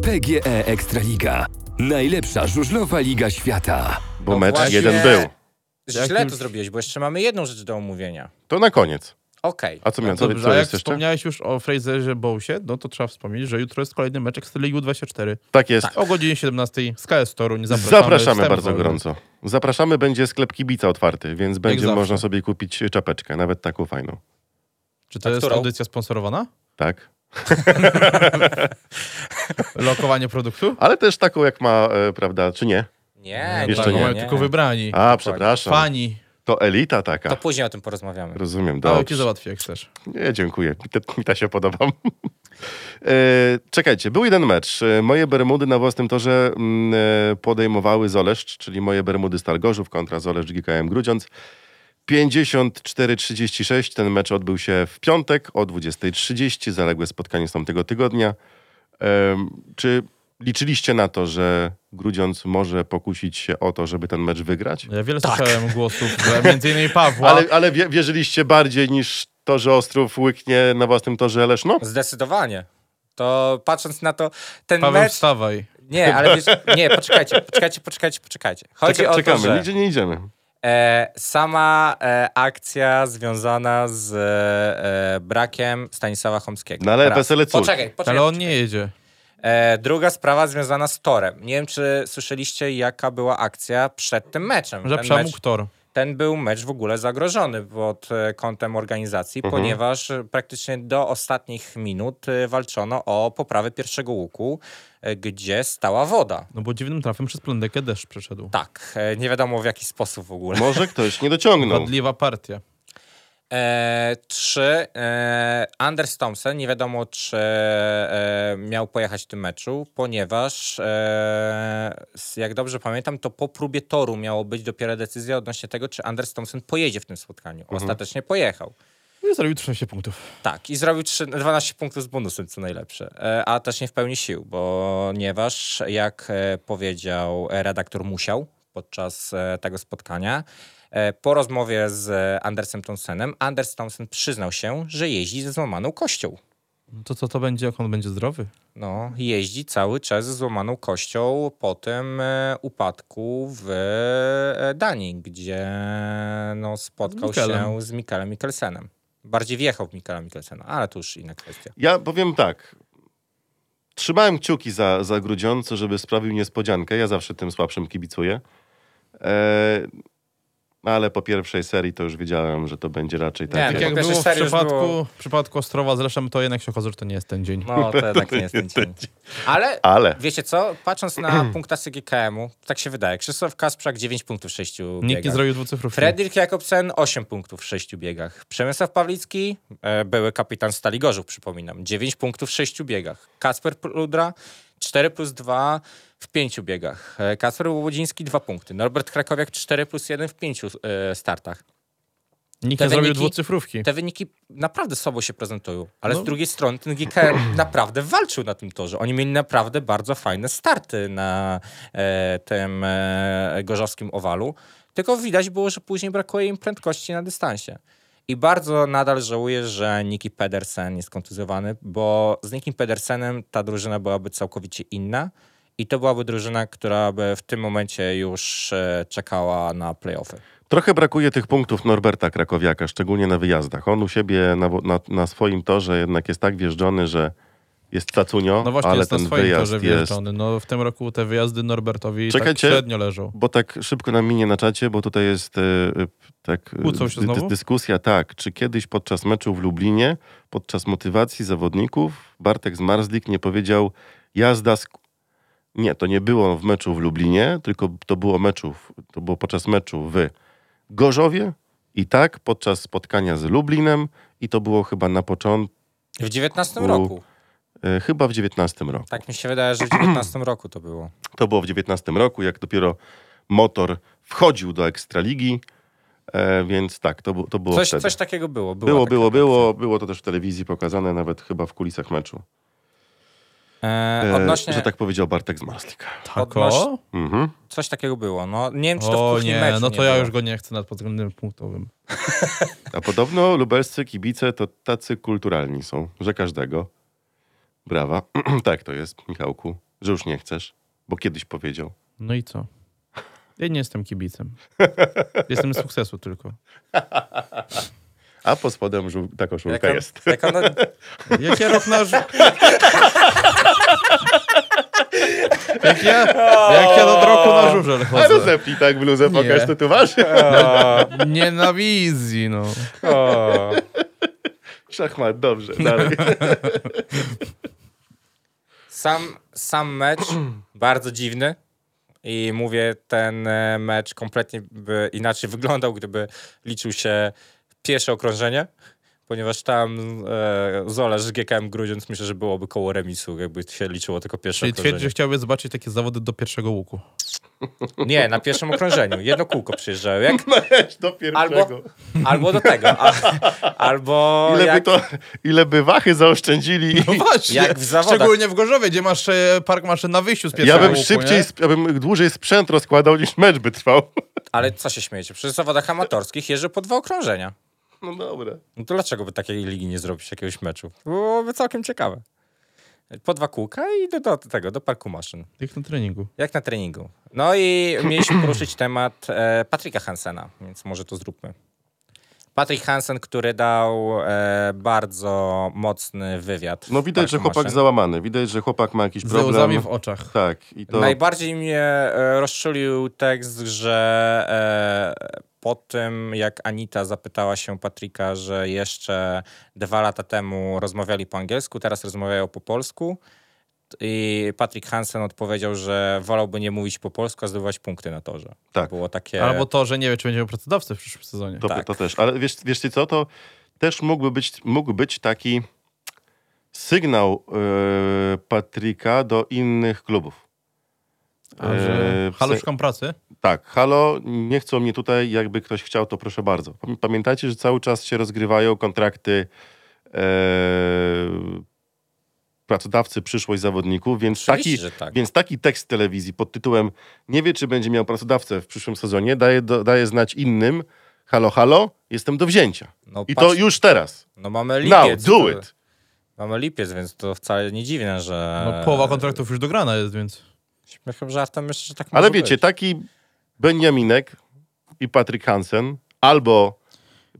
[SPEAKER 1] PGE E Ekstraliga. Najlepsza żużlowa liga świata.
[SPEAKER 2] Bo
[SPEAKER 4] No
[SPEAKER 2] mecz
[SPEAKER 4] właśnie.
[SPEAKER 2] jeden był.
[SPEAKER 4] Źle
[SPEAKER 3] Jak
[SPEAKER 4] to
[SPEAKER 3] już-
[SPEAKER 4] zrobiłeś, bo jeszcze mamy jedną rzecz do omówienia.
[SPEAKER 2] To na koniec.
[SPEAKER 4] Okej.
[SPEAKER 2] A co miałem? Co,
[SPEAKER 3] Dobrze,
[SPEAKER 2] no co
[SPEAKER 3] a jak
[SPEAKER 2] jest jeszcze?
[SPEAKER 3] wspomniałeś już o Fraserze Bowsie, no to trzeba wspomnieć, że jutro jest kolejny mecz Ekstraligi U24.
[SPEAKER 2] Tak jest.
[SPEAKER 3] O godzinie 17 z KS Toruń. Zapraszamy,
[SPEAKER 2] Zapraszamy,
[SPEAKER 3] wstęp
[SPEAKER 2] bardzo
[SPEAKER 3] wolny.
[SPEAKER 2] gorąco. Zapraszamy, będzie sklep kibica otwarty, więc będzie
[SPEAKER 3] zawsze.
[SPEAKER 2] można sobie kupić czapeczkę, nawet taką fajną.
[SPEAKER 3] Czy to
[SPEAKER 4] A
[SPEAKER 3] jest
[SPEAKER 4] którą?
[SPEAKER 3] audycja sponsorowana?
[SPEAKER 2] Tak?
[SPEAKER 3] Lokowanie
[SPEAKER 2] *laughs*
[SPEAKER 3] produktu?
[SPEAKER 2] Ale też taką, jak ma, e, prawda, czy nie?
[SPEAKER 4] Nie,
[SPEAKER 2] Jeszcze
[SPEAKER 3] Tak,
[SPEAKER 2] nie.
[SPEAKER 3] mają Tylko wybrani.
[SPEAKER 2] A, przepraszam.
[SPEAKER 3] Fani.
[SPEAKER 2] To elita taka.
[SPEAKER 4] To później o tym porozmawiamy.
[SPEAKER 2] Rozumiem,
[SPEAKER 3] Dałem ci
[SPEAKER 2] dobrze.
[SPEAKER 3] załatwię, jak chcesz.
[SPEAKER 2] Nie, dziękuję. Mi, te, mi ta się podoba. *laughs* E, czekajcie, był jeden mecz. E, Moje Bermudy na własnym torze mm, e, podejmowały Zoleszcz, czyli moje Bermudy Stal Gorzów kontra Zoleszcz GKM Grudziądz. 54-36. Ten mecz odbył się w piątek o 20.30. Zaległe spotkanie z tamtego tygodnia. Em, Czy liczyliście na to, że Grudziądz może pokusić się o to, żeby ten mecz wygrać?
[SPEAKER 3] Ja wiele słyszałem głosów,
[SPEAKER 2] *laughs*
[SPEAKER 3] że między innymi Pawła.
[SPEAKER 2] Tak. Ale, ale wie- wierzyliście bardziej niż to, że Ostrów łyknie na własnym torze Leszno?
[SPEAKER 4] Zdecydowanie. To patrząc na to, ten
[SPEAKER 3] Paweł,
[SPEAKER 4] mecz...
[SPEAKER 3] wstawaj.
[SPEAKER 4] Nie, ale wiesz, nie, poczekajcie, poczekajcie, poczekajcie, poczekajcie. Chodzi
[SPEAKER 2] Czeka,
[SPEAKER 4] o
[SPEAKER 2] czekamy,
[SPEAKER 4] to, że...
[SPEAKER 2] nigdzie nie idziemy.
[SPEAKER 4] E, sama e, akcja związana z e, brakiem Stanisława Chomskiego.
[SPEAKER 2] No ale
[SPEAKER 4] Raz.
[SPEAKER 2] PSL cud.
[SPEAKER 4] Poczekaj, poczekaj.
[SPEAKER 3] Ale on nie jedzie.
[SPEAKER 4] E, druga sprawa związana z torem. Nie wiem, czy słyszeliście, jaka była akcja przed tym meczem.
[SPEAKER 3] Że
[SPEAKER 4] Ten, mecz,
[SPEAKER 3] przemógł tor.
[SPEAKER 4] ten był mecz w ogóle zagrożony pod e, kątem organizacji,
[SPEAKER 2] Mhm.
[SPEAKER 4] ponieważ e, praktycznie do ostatnich minut e, walczono o poprawę pierwszego łuku, e, gdzie stała woda.
[SPEAKER 3] No bo dziwnym trafem przez plandekę deszcz przeszedł.
[SPEAKER 4] Tak, e, nie wiadomo w jaki sposób w ogóle.
[SPEAKER 3] *laughs*
[SPEAKER 2] Może ktoś nie dociągnął.
[SPEAKER 3] Wadliwa partia.
[SPEAKER 4] E, trzy, e, Anders Thompson, nie wiadomo czy e, miał pojechać w tym meczu, ponieważ e, s- jak dobrze pamiętam, to po próbie toru miało być dopiero decyzja odnośnie tego, czy Anders Thompson pojedzie w tym spotkaniu. Ostatecznie pojechał.
[SPEAKER 3] No I zrobił 13 punktów.
[SPEAKER 4] Tak, i zrobił trzy- 12 punktów z bonusem, co najlepsze. E, A też nie w pełni sił, bo- ponieważ, jak e, powiedział e, redaktor Musiał podczas e, tego spotkania, e, po rozmowie z Andersem Thompsonem, Anders Thompson przyznał się, że jeździ ze złamaną kością.
[SPEAKER 3] To co to będzie, jak on będzie zdrowy?
[SPEAKER 4] No, jeździ cały czas ze złamaną kością po tym e, upadku w e, Danii, gdzie no, spotkał
[SPEAKER 3] Z Mikkelem.
[SPEAKER 4] się z Mikelem Mikkelsenem. Bardziej wjechał w Mikela Mikkelsena, ale to już inna kwestia.
[SPEAKER 2] Ja powiem tak. Trzymałem kciuki za, za Grudziądzu, żeby sprawił niespodziankę. Ja zawsze tym słabszym kibicuję. E, ale po pierwszej serii to już wiedziałem, że to będzie raczej
[SPEAKER 4] Nie,
[SPEAKER 2] tak.
[SPEAKER 3] Tak
[SPEAKER 4] no po
[SPEAKER 3] jak
[SPEAKER 4] pierwsze
[SPEAKER 3] było w
[SPEAKER 4] serio już
[SPEAKER 3] przypadku,
[SPEAKER 4] było-
[SPEAKER 3] w przypadku Ostrowa z Leszem, to jednak się okazało, że to nie jest ten dzień.
[SPEAKER 4] No, *laughs* to jednak nie jest ten dzień. Ale,
[SPEAKER 2] Ale.
[SPEAKER 4] wiecie co, patrząc *clears throat* na punktację GKM-u, tak się wydaje. Krzysztof Kasprzak 9 punktów w 6
[SPEAKER 3] Nikt nie
[SPEAKER 4] biegach.
[SPEAKER 3] zrobił dwucyfrówki.
[SPEAKER 4] Fredrik Jakobsen 8 punktów w 6 biegach. Przemysław Pawlicki, e, były kapitan Stali Gorzów, przypominam, 9 punktów w 6 biegach. Kasper Prudra 4 plus 2 w 5 biegach. E, Kasper Łodziński 2 punkty. Norbert Krakowiak 4 plus 1 w 5 e, startach.
[SPEAKER 3] Nikt
[SPEAKER 4] te
[SPEAKER 3] nie zrobił
[SPEAKER 4] wyniki-
[SPEAKER 3] dwucyfrówki.
[SPEAKER 4] Te wyniki naprawdę słabo się prezentują, ale
[SPEAKER 3] No.
[SPEAKER 4] z drugiej strony ten GKM naprawdę walczył na tym torze. Oni mieli naprawdę bardzo fajne starty na e, tym e, gorzowskim owalu, tylko widać było, że później brakuje im prędkości na dystansie. I bardzo nadal żałuję, że Niki Pedersen jest kontuzjowany, bo z Nikim Pedersenem ta drużyna byłaby całkowicie inna i to byłaby drużyna, która by w tym momencie już e, czekała na playoffy.
[SPEAKER 2] Trochę brakuje tych punktów Norberta Krakowiaka, szczególnie na wyjazdach. On u siebie na, na, na swoim torze jednak jest tak wjeżdżony, że jest cacunio,
[SPEAKER 3] No właśnie,
[SPEAKER 2] ale
[SPEAKER 3] jest na
[SPEAKER 2] ten
[SPEAKER 3] swoim
[SPEAKER 2] wyjazd
[SPEAKER 3] torze
[SPEAKER 2] jest...
[SPEAKER 3] wjeżdżony. No w tym roku te wyjazdy Norbertowi tak
[SPEAKER 2] Czekajcie.
[SPEAKER 3] średnio leżą.
[SPEAKER 2] Bo tak szybko nam minie na czacie, bo tutaj jest e, e, tak, e,
[SPEAKER 3] Kłócą się znowu?
[SPEAKER 2] dyskusja, tak, czy kiedyś podczas meczu w Lublinie, podczas motywacji zawodników, Bartek Zmarzlik nie powiedział jazda z... Nie, to nie było w meczu w Lublinie, tylko to było, meczów, to było podczas meczu w Gorzowie i tak podczas spotkania z Lublinem i to było chyba na początku,
[SPEAKER 4] W 19
[SPEAKER 2] U-
[SPEAKER 4] roku.
[SPEAKER 2] e, chyba w 19 roku.
[SPEAKER 4] Tak mi się wydaje, że w
[SPEAKER 2] *clears throat*
[SPEAKER 4] 19 roku to było.
[SPEAKER 2] To było w 19 roku, jak dopiero motor wchodził do Ekstraligi, e, więc tak, to, bu- to było
[SPEAKER 4] Coś,
[SPEAKER 2] wtedy.
[SPEAKER 4] coś takiego było. Była
[SPEAKER 2] było,
[SPEAKER 4] taka
[SPEAKER 2] było,
[SPEAKER 4] akcja.
[SPEAKER 2] było, było to też w telewizji pokazane, nawet chyba w kulisach meczu,
[SPEAKER 4] E,
[SPEAKER 2] e,
[SPEAKER 4] odnośnie,
[SPEAKER 2] że tak powiedział Bartek Zmarslik.
[SPEAKER 3] Tako?
[SPEAKER 2] Mhm.
[SPEAKER 4] coś takiego było. No, nie wiem, czy to w
[SPEAKER 3] Tak, O
[SPEAKER 4] kuchni
[SPEAKER 3] nie,
[SPEAKER 4] meczu
[SPEAKER 3] no
[SPEAKER 4] nie
[SPEAKER 3] to ja
[SPEAKER 4] było.
[SPEAKER 3] już go nie chcę nad pod względem punktowym.
[SPEAKER 2] A podobno lubelscy kibice to tacy kulturalni są, że każdego. Brawa. *clears throat* tak to jest, Michałku, że już nie chcesz, bo kiedyś powiedział.
[SPEAKER 3] No i co? Ja nie jestem
[SPEAKER 4] *laughs*
[SPEAKER 3] kibicem. Jestem z sukcesu tylko.
[SPEAKER 2] A po spodem żół- ta koszulka
[SPEAKER 4] Jaka-
[SPEAKER 2] jest. *laughs*
[SPEAKER 4] jaka no- ona-
[SPEAKER 3] Jak ja rok na żu- Jak ja, jak ja do roku na żużel
[SPEAKER 2] A
[SPEAKER 3] chodzę.
[SPEAKER 2] rozepnij tak bluzę,
[SPEAKER 3] Nie.
[SPEAKER 2] pokaż
[SPEAKER 4] *laughs*
[SPEAKER 2] tatuaż.
[SPEAKER 3] Nie na wizji, no.
[SPEAKER 4] o,
[SPEAKER 2] Szachmat, dobrze, dalej.
[SPEAKER 4] sam, sam
[SPEAKER 2] *clears throat*
[SPEAKER 4] mecz bardzo dziwny. I mówię, ten e, mecz kompletnie by inaczej wyglądał, gdyby liczył się pierwsze okrążenie, ponieważ tam e, Zola z GKM Grudziądz myślę, że byłoby koło remisu, jakby się liczyło tylko pierwsze
[SPEAKER 3] Czyli
[SPEAKER 4] okrążenie.
[SPEAKER 3] twierdzi, że chciałby zobaczyć takie zawody do pierwszego łuku.
[SPEAKER 4] Nie, na pierwszym okrążeniu. Jedno kółko przyjeżdżają. Jak
[SPEAKER 2] Do pierwszego.
[SPEAKER 4] Albo, albo do tego. A,
[SPEAKER 2] *laughs*
[SPEAKER 4] albo
[SPEAKER 2] Ile, by
[SPEAKER 4] jak,
[SPEAKER 2] to, ile by wachy
[SPEAKER 3] No
[SPEAKER 2] zaoszczędzili.
[SPEAKER 3] Właśnie,
[SPEAKER 4] Jak w zawodach.
[SPEAKER 3] szczególnie w Gorzowie, gdzie masz e, park maszyn na wyjściu z
[SPEAKER 2] ja
[SPEAKER 3] pierwszego
[SPEAKER 2] bym
[SPEAKER 3] łuku,
[SPEAKER 2] szybciej,
[SPEAKER 3] nie?
[SPEAKER 2] sp- ja bym dłużej sprzęt rozkładał niż mecz by trwał. *laughs*
[SPEAKER 4] Ale co się śmiejecie? Przy zawodach amatorskich jeżdżę po dwa okrążenia.
[SPEAKER 2] No dobra.
[SPEAKER 4] No to dlaczego by takiej ligi nie zrobić jakiegoś meczu? Byłoby całkiem ciekawe. Po dwa kółka i do, do tego, do parku maszyn.
[SPEAKER 3] Jak na treningu.
[SPEAKER 4] Jak na treningu. No i
[SPEAKER 2] *clears throat*
[SPEAKER 4] mieliśmy poruszyć temat e, Patryka Hansena, więc może to zróbmy. Patryk Hansen, który dał e, bardzo mocny wywiad. w
[SPEAKER 2] No widać,
[SPEAKER 4] Parku
[SPEAKER 2] że chłopak
[SPEAKER 4] Maszyn.
[SPEAKER 2] załamany. Widać, że chłopak ma jakiś
[SPEAKER 3] Tak, Z
[SPEAKER 2] problem.
[SPEAKER 3] łzami w oczach.
[SPEAKER 2] Tak. I to
[SPEAKER 4] Najbardziej mnie e, rozczulił tekst, że e, po tym, jak Anita zapytała się Patryka, że jeszcze dwa lata temu rozmawiali po angielsku, teraz rozmawiają po polsku, i Patrick Hansen odpowiedział, że wolałby nie mówić po polsku, a zdobywać punkty na torze.
[SPEAKER 2] Tak.
[SPEAKER 4] Było takie...
[SPEAKER 3] Albo to, że nie wie, czy będziemy pracodawcy w przyszłym sezonie.
[SPEAKER 2] To,
[SPEAKER 4] Tak.
[SPEAKER 2] to też. Ale wiesz, wiesz ty co, to też mógłby być, mógł być taki sygnał e, Patryka do innych klubów.
[SPEAKER 3] A, że...
[SPEAKER 2] E, w
[SPEAKER 3] Halo,
[SPEAKER 2] sen-
[SPEAKER 3] szukam pracy?
[SPEAKER 2] Tak, halo, nie chcą mnie tutaj, jakby ktoś chciał, to proszę bardzo. Pam- Pamiętajcie, że cały czas się rozgrywają kontrakty e, pracodawcy, przyszłość zawodników, więc
[SPEAKER 4] Oczywiście,
[SPEAKER 2] taki,
[SPEAKER 4] że tak.
[SPEAKER 2] więc taki tekst telewizji pod tytułem nie wie, czy będzie miał pracodawcę w przyszłym sezonie, daje, do, daje znać innym, halo, halo, jestem do wzięcia.
[SPEAKER 4] No
[SPEAKER 2] I
[SPEAKER 4] patrz-
[SPEAKER 2] to już teraz.
[SPEAKER 4] No mamy
[SPEAKER 2] Now,
[SPEAKER 4] lipiec.
[SPEAKER 2] do
[SPEAKER 4] to-
[SPEAKER 2] it.
[SPEAKER 4] Mamy lipiec, więc to wcale nie dziwne, że...
[SPEAKER 3] No,
[SPEAKER 2] E.
[SPEAKER 3] połowa kontraktów już dograna jest, więc...
[SPEAKER 4] Śmiechem żartem myślę, że tak
[SPEAKER 2] Ale
[SPEAKER 4] może
[SPEAKER 2] wiecie,
[SPEAKER 4] być.
[SPEAKER 2] taki Benjaminek i Patryk Hansen albo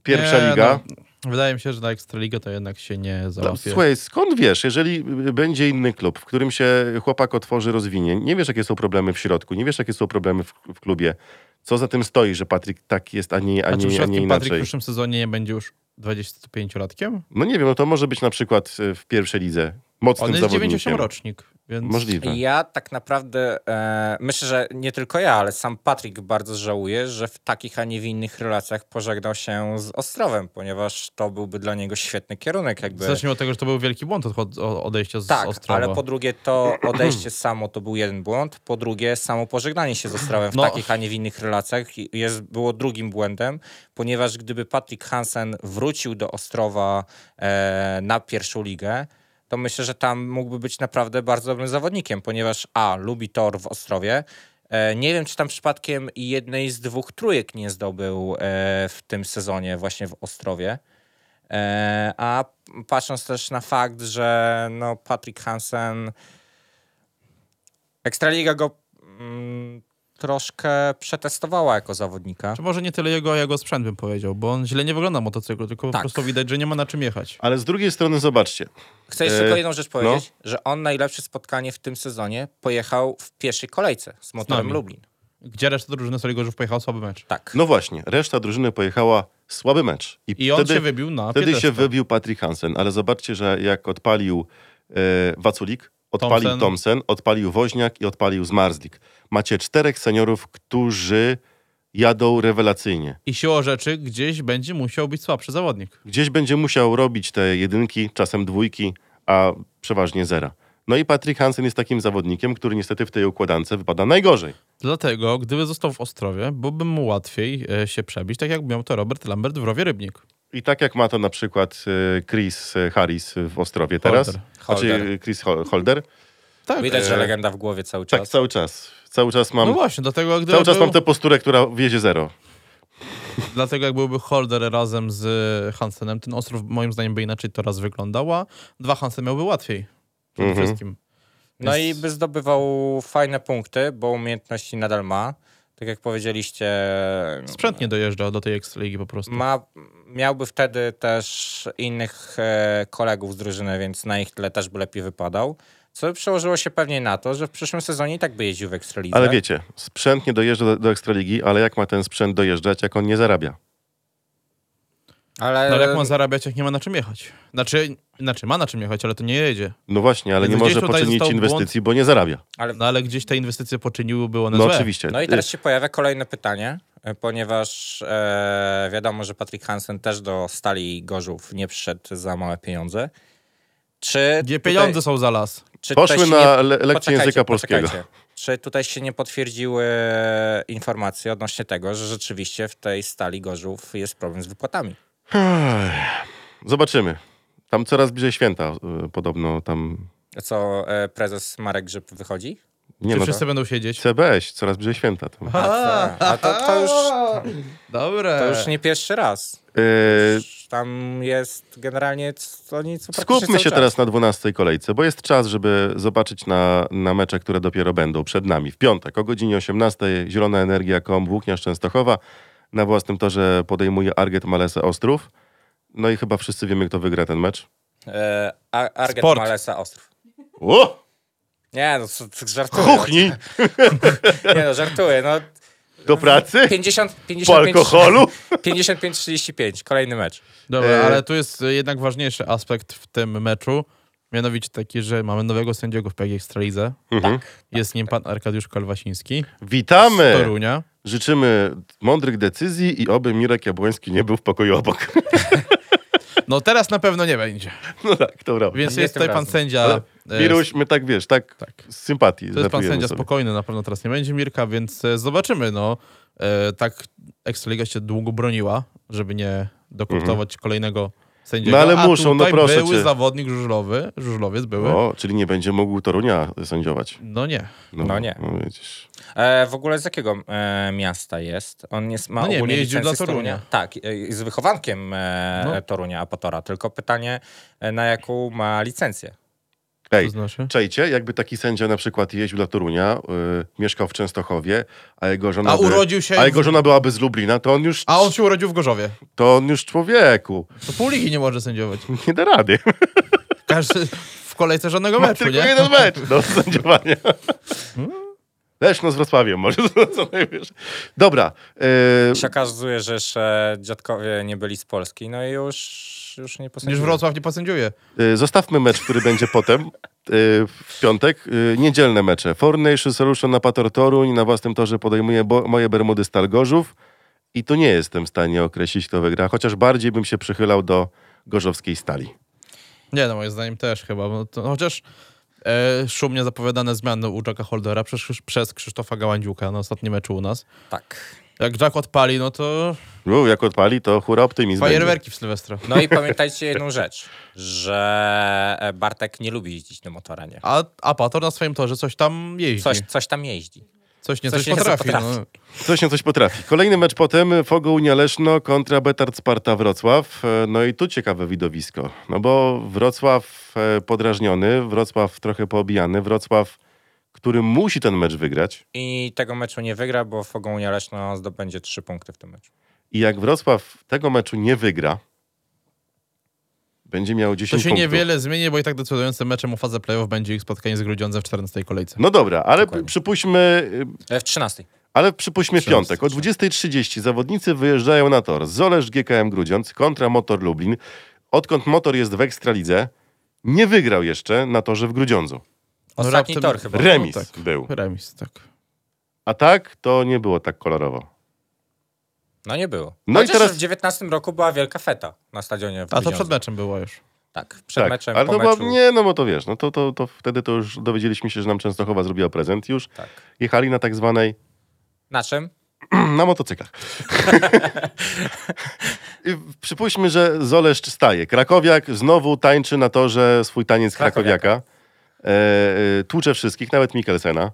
[SPEAKER 2] pierwsza
[SPEAKER 3] Nie,
[SPEAKER 2] liga.
[SPEAKER 3] No, wydaje mi się, że na Ekstraliga to jednak się nie
[SPEAKER 2] Tam,
[SPEAKER 3] załapie.
[SPEAKER 2] Słuchaj, skąd wiesz, jeżeli y, będzie inny klub, w którym się chłopak otworzy, rozwinie, nie wiesz, jakie są problemy w środku, nie wiesz, jakie są problemy w, w klubie. Co za tym stoi, że Patryk tak jest, a nie, a
[SPEAKER 3] A czy
[SPEAKER 2] nie, a nie
[SPEAKER 3] przypadkiem Patryk w
[SPEAKER 2] inaczej?
[SPEAKER 3] przyszłym sezonie nie będzie już 25-latkiem?
[SPEAKER 2] No nie wiem, no to może być na przykład y, w pierwszej lidze mocnym
[SPEAKER 3] On jest
[SPEAKER 2] zawodnikiem.
[SPEAKER 3] 98-rocznik, więc...
[SPEAKER 2] Możliwe.
[SPEAKER 4] Ja tak naprawdę e, myślę, że nie tylko ja, ale sam Patryk bardzo żałuje, że w takich, a nie w innych relacjach pożegnał się z Ostrowem, ponieważ to byłby dla niego świetny kierunek. Jakby.
[SPEAKER 3] Zacznijmy od tego, że to był wielki błąd odchod- o- odejścia z
[SPEAKER 4] tak,
[SPEAKER 3] Ostrowa.
[SPEAKER 4] ale po drugie
[SPEAKER 3] *clears throat*
[SPEAKER 4] to odejście samo to był jeden błąd, po drugie samo pożegnanie się z Ostrowem w
[SPEAKER 3] No.
[SPEAKER 4] takich, a nie w innych relacjach i- jest, było drugim błędem, ponieważ gdyby Patryk Hansen wrócił do Ostrowa e, na pierwszą ligę, to myślę, że tam mógłby być naprawdę bardzo dobrym zawodnikiem, ponieważ a, lubi tor w Ostrowie, E, Nie wiem, czy tam przypadkiem jednej z dwóch trójek nie zdobył e, w tym sezonie właśnie w Ostrowie. E, A patrząc też na fakt, że no Patrick Hansen Ekstraliga go mm, troszkę przetestowała jako zawodnika.
[SPEAKER 3] Czy może nie tyle jego, a jego sprzęt bym powiedział, bo on źle nie wygląda na motocyklu, tylko po
[SPEAKER 4] Tak.
[SPEAKER 3] prostu widać, że nie ma na czym jechać.
[SPEAKER 2] Ale z drugiej strony zobaczcie,
[SPEAKER 4] Chcę
[SPEAKER 2] E,
[SPEAKER 4] jeszcze tylko jedną rzecz powiedzieć, że on najlepsze spotkanie w tym sezonie pojechał w pierwszej kolejce z motorem
[SPEAKER 3] nami.
[SPEAKER 4] Lublin.
[SPEAKER 3] Gdzie reszta drużyny Soligorzów pojechał słaby mecz.
[SPEAKER 4] Tak.
[SPEAKER 2] no właśnie, reszta drużyny pojechała słaby mecz.
[SPEAKER 3] I on się wybił na
[SPEAKER 2] Wtedy się
[SPEAKER 3] piedestał.
[SPEAKER 2] wybił Patrick Hansen, ale zobaczcie, że jak odpalił e, Waculik, odpalił Thompson.
[SPEAKER 3] Thompson.
[SPEAKER 2] odpalił Woźniak i odpalił Zmarzlik. Macie czterech seniorów, którzy jadą rewelacyjnie.
[SPEAKER 3] I siłą rzeczy gdzieś będzie musiał być słabszy zawodnik.
[SPEAKER 2] Gdzieś będzie musiał robić te jedynki, czasem dwójki, a przeważnie zera. No i Patrick Hansen jest takim zawodnikiem, który niestety w tej układance wypada najgorzej.
[SPEAKER 3] Dlatego, gdyby został w Ostrowie, byłby mu łatwiej e, się przebić, tak jak miał to Robert Lambert w Rowie Rybnik.
[SPEAKER 2] I tak jak ma to na przykład e, Chris Harris w Ostrowie teraz.
[SPEAKER 3] Holder.
[SPEAKER 2] Znaczy e, Chris Hol- Holder.
[SPEAKER 3] Tak,
[SPEAKER 4] Widać, że
[SPEAKER 2] e,
[SPEAKER 4] legenda w głowie cały
[SPEAKER 2] Tak,
[SPEAKER 4] czas.
[SPEAKER 2] cały czas. Cały czas mam
[SPEAKER 3] no właśnie, dlatego gdyby
[SPEAKER 2] Cały czas
[SPEAKER 3] był,
[SPEAKER 2] mam tę posturę, która wiezie zero.
[SPEAKER 3] Dlatego jak byłby Holder razem z Hansenem, ten Ostrów moim zdaniem by inaczej to raz wyglądała. Dwa Hansen miałby łatwiej. Przede
[SPEAKER 2] Mhm.
[SPEAKER 3] wszystkim.
[SPEAKER 4] No i
[SPEAKER 3] Jest-
[SPEAKER 4] by zdobywał fajne punkty, bo umiejętności nadal ma. Tak jak powiedzieliście,
[SPEAKER 3] Sprzęt nie dojeżdża do tej Ekstraligi po prostu.
[SPEAKER 4] ma, miałby wtedy też innych e, kolegów z drużyny, więc na ich tle też by lepiej wypadał. Co by przełożyło się pewnie na to, że w przyszłym sezonie i tak by jeździł w Ekstralidze.
[SPEAKER 2] Ale wiecie, sprzęt nie dojeżdża do, do Ekstraligi, ale jak ma ten sprzęt dojeżdżać, jak on nie zarabia?
[SPEAKER 4] ale,
[SPEAKER 3] No ale jak ma zarabiać, jak nie ma na czym jechać? Znaczy, znaczy ma na czym jechać, ale to nie jedzie.
[SPEAKER 2] No właśnie, ale
[SPEAKER 3] Więc
[SPEAKER 2] nie
[SPEAKER 3] gdzieś
[SPEAKER 2] może
[SPEAKER 3] tutaj
[SPEAKER 2] poczynić
[SPEAKER 3] został
[SPEAKER 2] inwestycji, bo nie zarabia.
[SPEAKER 4] ale
[SPEAKER 3] No ale gdzieś te inwestycje poczyniły, były one
[SPEAKER 2] No
[SPEAKER 3] złe.
[SPEAKER 2] oczywiście.
[SPEAKER 4] No i
[SPEAKER 3] Y-
[SPEAKER 4] teraz się pojawia kolejne pytanie, e, ponieważ e, wiadomo, że Patrick Hansen też do Stali Gorzów nie przyszedł za małe pieniądze. Czy
[SPEAKER 3] Gdzie
[SPEAKER 4] tutaj-
[SPEAKER 3] pieniądze są za las?
[SPEAKER 4] Czy
[SPEAKER 2] Poszły
[SPEAKER 4] tutaj się
[SPEAKER 2] na le- lekcję
[SPEAKER 4] Poczekajcie,
[SPEAKER 2] języka polskiego.
[SPEAKER 4] poczekajcie. Czy tutaj się nie potwierdziły e, informacje odnośnie tego, że rzeczywiście w tej stali Gorzów jest problem z wypłatami?
[SPEAKER 2] Zobaczymy. Tam coraz bliżej święta y, podobno tam...
[SPEAKER 4] Co e, prezes Marek Grzyb wychodzi?
[SPEAKER 2] Nie
[SPEAKER 3] Czy
[SPEAKER 2] no,
[SPEAKER 3] wszyscy będą siedzieć?
[SPEAKER 2] CBŚ, coraz bliżej święta. Tam.
[SPEAKER 4] A, co? a to, to, już,
[SPEAKER 3] Dobre.
[SPEAKER 4] to już nie pierwszy raz.
[SPEAKER 2] Y,
[SPEAKER 4] Tam jest generalnie c- to nic.
[SPEAKER 2] skupmy się teraz na 12 kolejce, bo jest czas, żeby zobaczyć na, na mecze, które dopiero będą przed nami. W piątek o godzinie 18 Zielona Energia KOM Włóknia Częstochowa na własnym torze podejmuje Arget Malesa Ostrów. No i chyba wszyscy wiemy, kto wygra ten mecz.
[SPEAKER 4] E, Ar- Arget
[SPEAKER 3] Sport.
[SPEAKER 4] Malesa Ostrów.
[SPEAKER 2] O!
[SPEAKER 4] Nie, no co- co- żartuję.
[SPEAKER 2] Kuchni!
[SPEAKER 4] Nie, no żartuję.
[SPEAKER 2] *laughs*
[SPEAKER 4] No,
[SPEAKER 2] Do pracy?
[SPEAKER 4] 50,
[SPEAKER 2] Po
[SPEAKER 4] 55, *laughs*
[SPEAKER 2] alkoholu?
[SPEAKER 4] 55-35, kolejny mecz.
[SPEAKER 3] Dobra,
[SPEAKER 2] E-
[SPEAKER 3] ale tu jest jednak ważniejszy aspekt w tym meczu, Mianowicie taki, że mamy nowego sędziego w PG Ekstralidze. Tak.
[SPEAKER 2] Mhm.
[SPEAKER 3] Jest nim pan Arkadiusz Kolwasiński z
[SPEAKER 2] Witamy!
[SPEAKER 3] Torunia.
[SPEAKER 2] Życzymy mądrych decyzji i oby Mirek Jabłoński nie był w pokoju obok. *laughs*
[SPEAKER 3] No teraz na pewno nie będzie.
[SPEAKER 2] No tak, dobra.
[SPEAKER 3] Więc
[SPEAKER 4] Nie
[SPEAKER 3] jest
[SPEAKER 4] tym
[SPEAKER 3] tutaj pan
[SPEAKER 4] razem.
[SPEAKER 3] sędzia.
[SPEAKER 2] Ale
[SPEAKER 3] e,
[SPEAKER 2] Miruś, my tak wiesz, tak,
[SPEAKER 3] Tak.
[SPEAKER 2] z sympatii.
[SPEAKER 3] To jest pan
[SPEAKER 2] żartujemy
[SPEAKER 3] sędzia
[SPEAKER 2] sobie.
[SPEAKER 3] spokojny, na pewno teraz nie będzie Mirka, więc e, zobaczymy. No, e, tak Ekstraliga się długo broniła, żeby nie dokurtować kolejnego sędziego.
[SPEAKER 2] Mhm. No ale
[SPEAKER 3] A
[SPEAKER 2] muszą, no
[SPEAKER 3] tutaj
[SPEAKER 2] proszę
[SPEAKER 3] były
[SPEAKER 2] cię.
[SPEAKER 3] zawodnik żużlowy, żużlowiec były.
[SPEAKER 2] O, czyli nie będzie mógł Torunia sędziować.
[SPEAKER 3] No nie.
[SPEAKER 4] No nie.
[SPEAKER 2] No, widzisz.
[SPEAKER 4] E, w ogóle z jakiego e, miasta jest? On jest, ma
[SPEAKER 3] No nie,
[SPEAKER 4] ogólnie
[SPEAKER 3] jeździł
[SPEAKER 4] licencję
[SPEAKER 3] dla
[SPEAKER 4] z Torunia.
[SPEAKER 3] Torunia.
[SPEAKER 4] Tak, e, i z wychowankiem e,
[SPEAKER 3] No.
[SPEAKER 4] Torunia Apatora. Tylko pytanie, e, na jaką ma licencję?
[SPEAKER 2] Ej,
[SPEAKER 3] To znaczy?
[SPEAKER 2] czajcie, jakby taki sędzia na przykład jeździł do Torunia, y, mieszkał w Częstochowie, a jego żona
[SPEAKER 3] A
[SPEAKER 2] by,
[SPEAKER 3] urodził się
[SPEAKER 2] No a
[SPEAKER 3] w-
[SPEAKER 2] jego żona byłaby z Lublina, to on już
[SPEAKER 3] A on się urodził w Gorzowie.
[SPEAKER 2] to on już człowieku, *laughs*
[SPEAKER 3] To pół ligi nie może sędziować.
[SPEAKER 2] nie da rady.
[SPEAKER 3] Każdy w kolejce żadnego
[SPEAKER 2] Ma
[SPEAKER 3] meczu,
[SPEAKER 2] tylko
[SPEAKER 3] nie? Hmm.
[SPEAKER 2] jeden mecz
[SPEAKER 3] *laughs*
[SPEAKER 2] do sędziowania. Leszno z Wrocławiem może, *laughs* co najwyżej. Dobra, y,
[SPEAKER 4] Się okazuje, że jeszcze dziadkowie nie byli z Polski, no i już, już nie
[SPEAKER 3] Już
[SPEAKER 4] posędziłem.
[SPEAKER 3] Wrocław nie posędziuje.
[SPEAKER 2] Y, Zostawmy mecz, który będzie potem. y, W piątek Y, niedzielne mecze. Fornation Solution na Pator Toruń na własnym torze podejmuje bo- moje Bermudy Stal Gorzów i tu nie jestem w stanie określić, kto wygra, chociaż bardziej bym się przychylał do gorzowskiej stali.
[SPEAKER 3] Nie, no moim zdaniem też chyba. Bo to, chociaż e, szumnie zapowiadane zmiany u Jacka Holdera przez, przez Krzysztofa Gałędziuka na ostatnim meczu u nas.
[SPEAKER 4] Tak.
[SPEAKER 3] Jak Jack odpali, no to
[SPEAKER 2] U, jak odpali, to hura optymizm. będzie.
[SPEAKER 3] fajerwerki w Sylwestra.
[SPEAKER 4] No i pamiętajcie jedną rzecz, że e, Bartek nie lubi jeździć na motoranie.
[SPEAKER 3] A, a Pator na swoim torze coś tam jeździ.
[SPEAKER 4] Coś,
[SPEAKER 3] Coś,
[SPEAKER 4] coś tam jeździ.
[SPEAKER 3] nie
[SPEAKER 4] coś
[SPEAKER 3] coś,
[SPEAKER 4] nie
[SPEAKER 3] potrafi.
[SPEAKER 4] potrafi.
[SPEAKER 3] No.
[SPEAKER 2] Coś się coś potrafi. Kolejny mecz potem, Fogo Unia Leszno kontra Betard Sparta Wrocław. E, No i tu ciekawe widowisko, no bo Wrocław e, podrażniony, Wrocław trochę poobijany, Wrocław, który musi ten mecz wygrać.
[SPEAKER 4] I tego meczu nie wygra, bo Fogonia Leszno zdobędzie trzy punkty w tym meczu.
[SPEAKER 2] I jak Wrocław tego meczu nie wygra, będzie miał 10
[SPEAKER 3] To się
[SPEAKER 2] punktów.
[SPEAKER 3] niewiele zmieni, bo i tak decydującym meczem o fazę playoff będzie ich spotkanie z Grudziądzem w 14 kolejce.
[SPEAKER 2] No dobra, ale
[SPEAKER 4] Dokładnie.
[SPEAKER 2] przypuśćmy, y,
[SPEAKER 4] E, w 13.
[SPEAKER 2] ale przypuśćmy
[SPEAKER 4] Trzynasty,
[SPEAKER 2] piątek. O 20.30 zawodnicy wyjeżdżają na tor. Zolesz GKM Grudziądz kontra Motor Lublin. Odkąd Motor jest w Ekstralidze, nie wygrał jeszcze na torze w Grudziądzu.
[SPEAKER 3] No
[SPEAKER 4] Ostatni
[SPEAKER 3] raptem-
[SPEAKER 4] tor chyba.
[SPEAKER 3] Re-
[SPEAKER 2] Remis
[SPEAKER 3] No tak.
[SPEAKER 2] był.
[SPEAKER 3] Remis, tak.
[SPEAKER 2] A tak, to nie było tak kolorowo.
[SPEAKER 4] No nie było.
[SPEAKER 2] No
[SPEAKER 4] No
[SPEAKER 2] i
[SPEAKER 4] Chociaż
[SPEAKER 2] teraz-
[SPEAKER 4] w 19 roku była wielka feta na stadionie w
[SPEAKER 3] A to
[SPEAKER 4] Grudziądzu.
[SPEAKER 3] przed meczem było już.
[SPEAKER 4] Tak, przed
[SPEAKER 2] tak,
[SPEAKER 4] meczem,
[SPEAKER 2] ale
[SPEAKER 4] po
[SPEAKER 2] to
[SPEAKER 4] meczu.
[SPEAKER 2] była, nie, no bo to wiesz, no to, to, to wtedy to już dowiedzieliśmy się, że nam Częstochowa zrobiła prezent. Już
[SPEAKER 4] Tak.
[SPEAKER 2] jechali na tak zwanej
[SPEAKER 4] Na czym?
[SPEAKER 2] Na
[SPEAKER 3] *laughs*
[SPEAKER 2] motocyklach. I Przypuśćmy, że Zoleszcz staje. Krakowiak znowu tańczy na torze swój taniec krakowiaka.
[SPEAKER 4] Krakowiaka.
[SPEAKER 2] E, e, tłucze wszystkich, nawet Mikkelsena.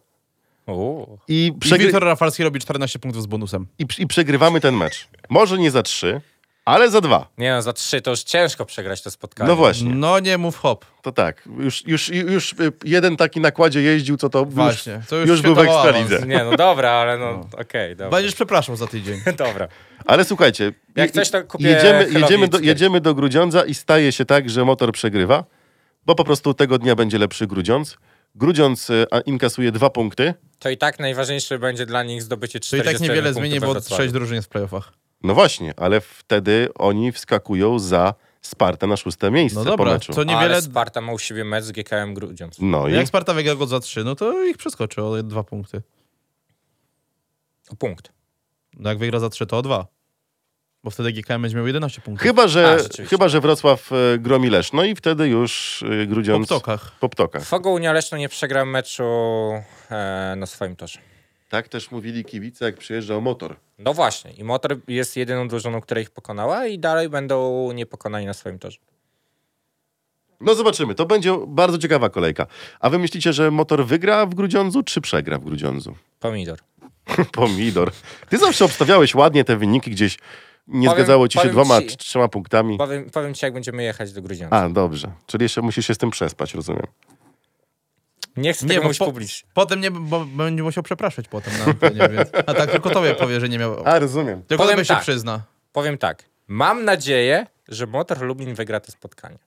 [SPEAKER 4] Uuu.
[SPEAKER 2] I,
[SPEAKER 3] I
[SPEAKER 2] przegry-
[SPEAKER 3] Wiktor Rafalski robi 14 punktów z bonusem.
[SPEAKER 2] i, pr- I przegrywamy ten mecz. Może nie za trzy, ale za dwa.
[SPEAKER 4] Nie no, za trzy to już ciężko przegrać to spotkanie.
[SPEAKER 2] No właśnie,
[SPEAKER 3] No nie mów hop.
[SPEAKER 2] to tak. Już, już, już y, jeden taki na kładzie jeździł, co to
[SPEAKER 3] Właśnie,
[SPEAKER 2] już,
[SPEAKER 3] to
[SPEAKER 2] już,
[SPEAKER 3] już
[SPEAKER 2] był w
[SPEAKER 3] światowy
[SPEAKER 2] Ekstralidze.
[SPEAKER 4] Nie no, dobra, ale no, okej, dobra.
[SPEAKER 3] Będziesz przepraszał za tydzień.
[SPEAKER 4] *laughs*
[SPEAKER 3] tak
[SPEAKER 4] Dobra.
[SPEAKER 2] Ale słuchajcie,
[SPEAKER 4] Jak
[SPEAKER 2] i-
[SPEAKER 4] coś, to kupię
[SPEAKER 2] jedziemy,
[SPEAKER 4] Hellowi
[SPEAKER 2] jedziemy, do,
[SPEAKER 4] cztery.
[SPEAKER 2] jedziemy do Grudziądza i staje się tak, że motor przegrywa, bo po prostu tego dnia będzie lepszy Grudziądz. Grudziądz y, a- inkasuje dwa punkty.
[SPEAKER 4] To i tak najważniejsze będzie dla nich zdobycie
[SPEAKER 3] To i
[SPEAKER 4] 40
[SPEAKER 3] tak niewiele zmieni,
[SPEAKER 4] punktów we
[SPEAKER 3] bo
[SPEAKER 4] Wrocławiu.
[SPEAKER 3] 6 drużyn jest w playoffach.
[SPEAKER 2] No właśnie, ale wtedy oni wskakują za Spartę na szóste miejsce
[SPEAKER 3] No
[SPEAKER 2] po
[SPEAKER 3] dobra,
[SPEAKER 2] meczu.
[SPEAKER 3] to
[SPEAKER 4] Ale
[SPEAKER 3] niewiele...
[SPEAKER 4] Sparta ma u siebie mecz z GKM Grudziądz.
[SPEAKER 2] No i
[SPEAKER 3] Jak Sparta wygra go za 3, no to ich przeskoczy o 2 punkty.
[SPEAKER 4] O punkt.
[SPEAKER 3] No jak wygra za 3, to o 2. Bo wtedy GKM będzie miał 11 punktów.
[SPEAKER 2] chyba, że,
[SPEAKER 4] A, rzeczywiście.
[SPEAKER 2] chyba, że Wrocław y, gromi Leszno i wtedy już y,
[SPEAKER 3] Po
[SPEAKER 2] Grudziądz...
[SPEAKER 3] ptokach.
[SPEAKER 2] Po ptokach.
[SPEAKER 4] Fogo Unia Leszno nie przegra meczu e, na swoim torze.
[SPEAKER 2] Tak też mówili kibice, jak przyjeżdżał motor.
[SPEAKER 4] No właśnie. I Motor jest jedyną drużyną, która ich pokonała i dalej będą niepokonani na swoim torze.
[SPEAKER 2] No zobaczymy, to będzie bardzo ciekawa kolejka. A wy myślicie, że motor wygra w Grudziądzu, czy przegra w Grudziądzu? *laughs*
[SPEAKER 4] Pomidor.
[SPEAKER 2] Pomidor. Ty zawsze obstawiałeś ładnie te wyniki gdzieś. Nie
[SPEAKER 4] Powiem-
[SPEAKER 2] zgadzało ci się
[SPEAKER 4] powiem
[SPEAKER 2] dwoma,
[SPEAKER 4] ci-
[SPEAKER 2] czy trzema punktami.
[SPEAKER 4] Powiem, powiem ci, jak będziemy jechać do Grudziądza.
[SPEAKER 2] A, dobrze. Czyli jeszcze musisz się z tym przespać, rozumiem.
[SPEAKER 4] Nie chcę
[SPEAKER 3] Nie,
[SPEAKER 4] tego
[SPEAKER 3] bo
[SPEAKER 4] mówić
[SPEAKER 3] po-
[SPEAKER 4] publicznie.
[SPEAKER 3] Potem nie, bo będzie musiał przepraszać potem na antenie, więc... A tak tylko tobie powie, że nie miał...
[SPEAKER 2] A, rozumiem.
[SPEAKER 3] Tylko
[SPEAKER 4] Powiem
[SPEAKER 3] tobie się
[SPEAKER 4] tak.
[SPEAKER 3] przyzna.
[SPEAKER 4] Powiem tak. Mam nadzieję, że Motor Lublin wygra to spotkanie.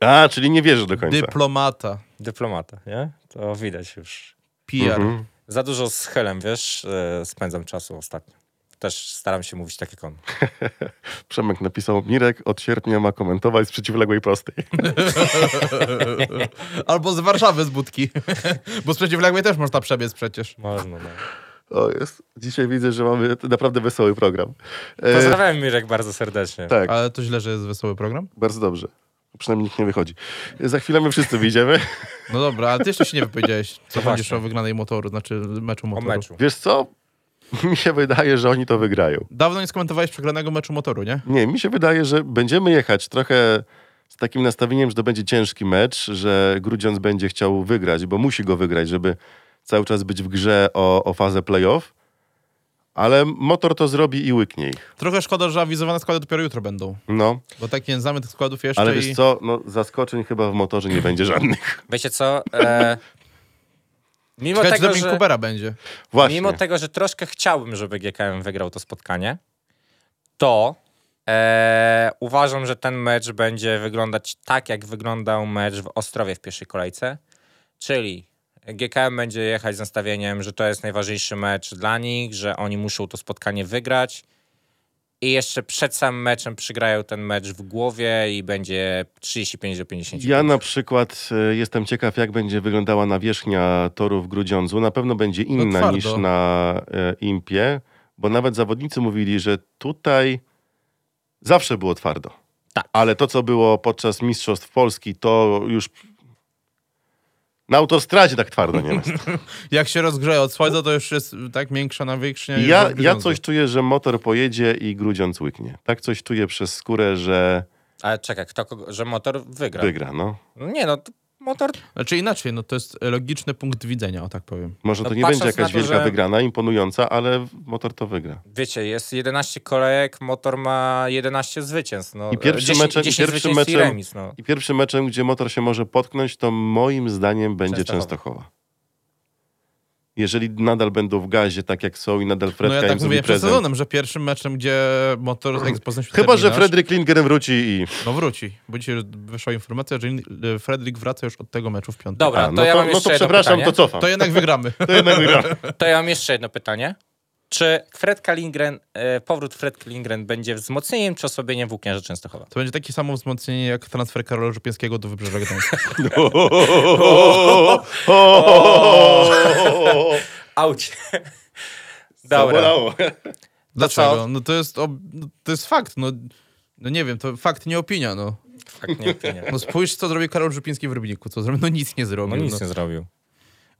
[SPEAKER 2] A, czyli nie wierzę do końca.
[SPEAKER 3] Dyplomata.
[SPEAKER 4] Dyplomata, nie? To widać już.
[SPEAKER 3] PR.
[SPEAKER 2] Mhm.
[SPEAKER 4] Za dużo z Helem, wiesz, e, spędzam czasu ostatnio. też staram się mówić tak jak on.
[SPEAKER 2] Przemek napisał, Mirek od sierpnia ma komentować z przeciwległej prostej.
[SPEAKER 4] Mhm.
[SPEAKER 3] *laughs* Albo z Warszawy z budki. *laughs* Bo z przeciwległej też można przebiec przecież.
[SPEAKER 4] Można, no.
[SPEAKER 2] *laughs* O, jest. Dzisiaj widzę, że mamy naprawdę wesoły program. E,
[SPEAKER 4] Pozdrawiam Mirek bardzo serdecznie.
[SPEAKER 2] tak,
[SPEAKER 3] Ale to źle, że jest wesoły program.
[SPEAKER 2] bardzo dobrze. Przynajmniej nikt nie wychodzi. E, Za chwilę my wszyscy *laughs* wyjdziemy.
[SPEAKER 3] No dobra, ale ty jeszcze się nie wypowiedziałeś. Co
[SPEAKER 4] No właśnie.
[SPEAKER 3] sądzisz o wygranej motoru, znaczy meczu
[SPEAKER 4] O
[SPEAKER 3] motoru.
[SPEAKER 4] meczu.
[SPEAKER 2] Wiesz co? *laughs* Mi się wydaje, że oni to wygrają.
[SPEAKER 3] Dawno nie skomentowałeś przegranego meczu motoru, nie?
[SPEAKER 2] Nie, mi się wydaje, że będziemy jechać trochę z takim nastawieniem, że to będzie ciężki mecz, że Grudziądz będzie chciał wygrać, bo musi go wygrać, żeby cały czas być w grze o, o fazę playoff. Ale motor to zrobi i łyknie ich.
[SPEAKER 3] Trochę szkoda, że awizowane składy dopiero jutro będą.
[SPEAKER 2] No,
[SPEAKER 3] Bo tak nie znamy tych składów jeszcze
[SPEAKER 2] ale
[SPEAKER 3] i...
[SPEAKER 2] wiesz co? No, zaskoczeń chyba w motorze nie będzie żadnych.
[SPEAKER 4] Wiecie co? E, mimo,
[SPEAKER 3] Czekaj, czy
[SPEAKER 4] tego,
[SPEAKER 3] doping
[SPEAKER 4] że,
[SPEAKER 3] Kubera będzie.
[SPEAKER 2] Właśnie.
[SPEAKER 4] mimo tego, że troszkę chciałbym, żeby GKM wygrał to spotkanie, to e, uważam, że ten mecz będzie wyglądać tak, jak wyglądał mecz w Ostrowie w pierwszej kolejce. Czyli GKM będzie jechać z nastawieniem, że to jest najważniejszy mecz dla nich, że oni muszą to spotkanie wygrać. I jeszcze przed samym meczem przygrają ten mecz w głowie i będzie 35 do 50.
[SPEAKER 2] Ja na przykład e, jestem ciekaw, jak będzie wyglądała nawierzchnia toru w Grudziądzu. Na pewno będzie
[SPEAKER 4] No
[SPEAKER 2] inna
[SPEAKER 3] twardo.
[SPEAKER 2] niż na e, Impie, bo nawet zawodnicy mówili, że tutaj zawsze było twardo.
[SPEAKER 4] Tak.
[SPEAKER 2] Ale to, co było podczas Mistrzostw Polski, to już na autostradzie tak twardo
[SPEAKER 4] *laughs*
[SPEAKER 2] nie jest.
[SPEAKER 3] Jak się rozgrzeje od słońca, to już jest tak miększa nawierzchnia. niż
[SPEAKER 2] Ja,
[SPEAKER 3] od
[SPEAKER 2] ja
[SPEAKER 3] Grudziądza.
[SPEAKER 2] coś czuję, że motor pojedzie i Grudziądz łyknie. Tak coś czuję przez skórę, że
[SPEAKER 4] Ale czekaj, kto, kogo, że motor wygra.
[SPEAKER 2] wygra. No.
[SPEAKER 4] No Nie no, to motor
[SPEAKER 3] Znaczy inaczej, no to jest logiczny punkt widzenia, o tak powiem.
[SPEAKER 2] Może to
[SPEAKER 4] No
[SPEAKER 2] nie
[SPEAKER 4] patrząc
[SPEAKER 2] będzie jakaś
[SPEAKER 4] na to,
[SPEAKER 2] wielka
[SPEAKER 4] że-
[SPEAKER 2] wygrana, imponująca, ale motor to wygra.
[SPEAKER 4] Wiecie, jest 11 kolejek, motor ma 11 zwycięstw. No.
[SPEAKER 2] I pierwszym
[SPEAKER 4] 10,
[SPEAKER 2] meczem- i
[SPEAKER 4] 10
[SPEAKER 2] pierwszym
[SPEAKER 4] zwycięstw i
[SPEAKER 2] meczem-
[SPEAKER 4] remis. No.
[SPEAKER 2] I pierwszym meczem, gdzie motor się może potknąć, to moim zdaniem będzie
[SPEAKER 4] Częstochowa.
[SPEAKER 2] Częstochowa. Jeżeli nadal będą w gazie, tak jak są i nadal
[SPEAKER 3] No
[SPEAKER 2] Fredka
[SPEAKER 3] ja tak
[SPEAKER 2] im
[SPEAKER 3] mówię
[SPEAKER 2] zrobi
[SPEAKER 3] przed
[SPEAKER 2] prezent.
[SPEAKER 3] sezonem, że pierwszym meczem, gdzie motor z Ex Poznań się
[SPEAKER 2] Chyba, że
[SPEAKER 3] terminarz,
[SPEAKER 2] Fredrik Lindgren wróci i...
[SPEAKER 3] No wróci, bo dzisiaj już wyszła informacja, że y, Fredrik wraca już od tego meczu w piątek.
[SPEAKER 4] Dobra,
[SPEAKER 2] A,
[SPEAKER 4] to,
[SPEAKER 2] no
[SPEAKER 4] ja
[SPEAKER 2] to,
[SPEAKER 4] mam
[SPEAKER 2] no
[SPEAKER 4] jeszcze
[SPEAKER 2] to
[SPEAKER 4] jedno
[SPEAKER 2] przepraszam, to
[SPEAKER 4] pytanie.
[SPEAKER 2] cofam.
[SPEAKER 3] To jednak wygramy. *laughs*
[SPEAKER 2] To jednak gra.
[SPEAKER 4] To ja mam jeszcze jedno pytanie. Czy Fred Kalingren, e, powrót Fred Kalingren będzie wzmocnieniem czy osłabieniem włókniarza Częstochowa?
[SPEAKER 3] To będzie takie samo wzmocnienie jak transfer Karola Żupińskiego do Wybrzeża Gdańska.
[SPEAKER 4] *laughs* Auć. Dobra.
[SPEAKER 2] Dobra.
[SPEAKER 3] Dlaczego? No to jest, ob- no to jest fakt, no. No nie wiem, to fakt, nie opinia, no.
[SPEAKER 4] Tak, nie, nie.
[SPEAKER 3] No spójrz, co zrobił Karol Żupiński w Rybniku, co zrobił? No nic nie zrobił.
[SPEAKER 4] No
[SPEAKER 3] no.
[SPEAKER 4] nic nie zrobił.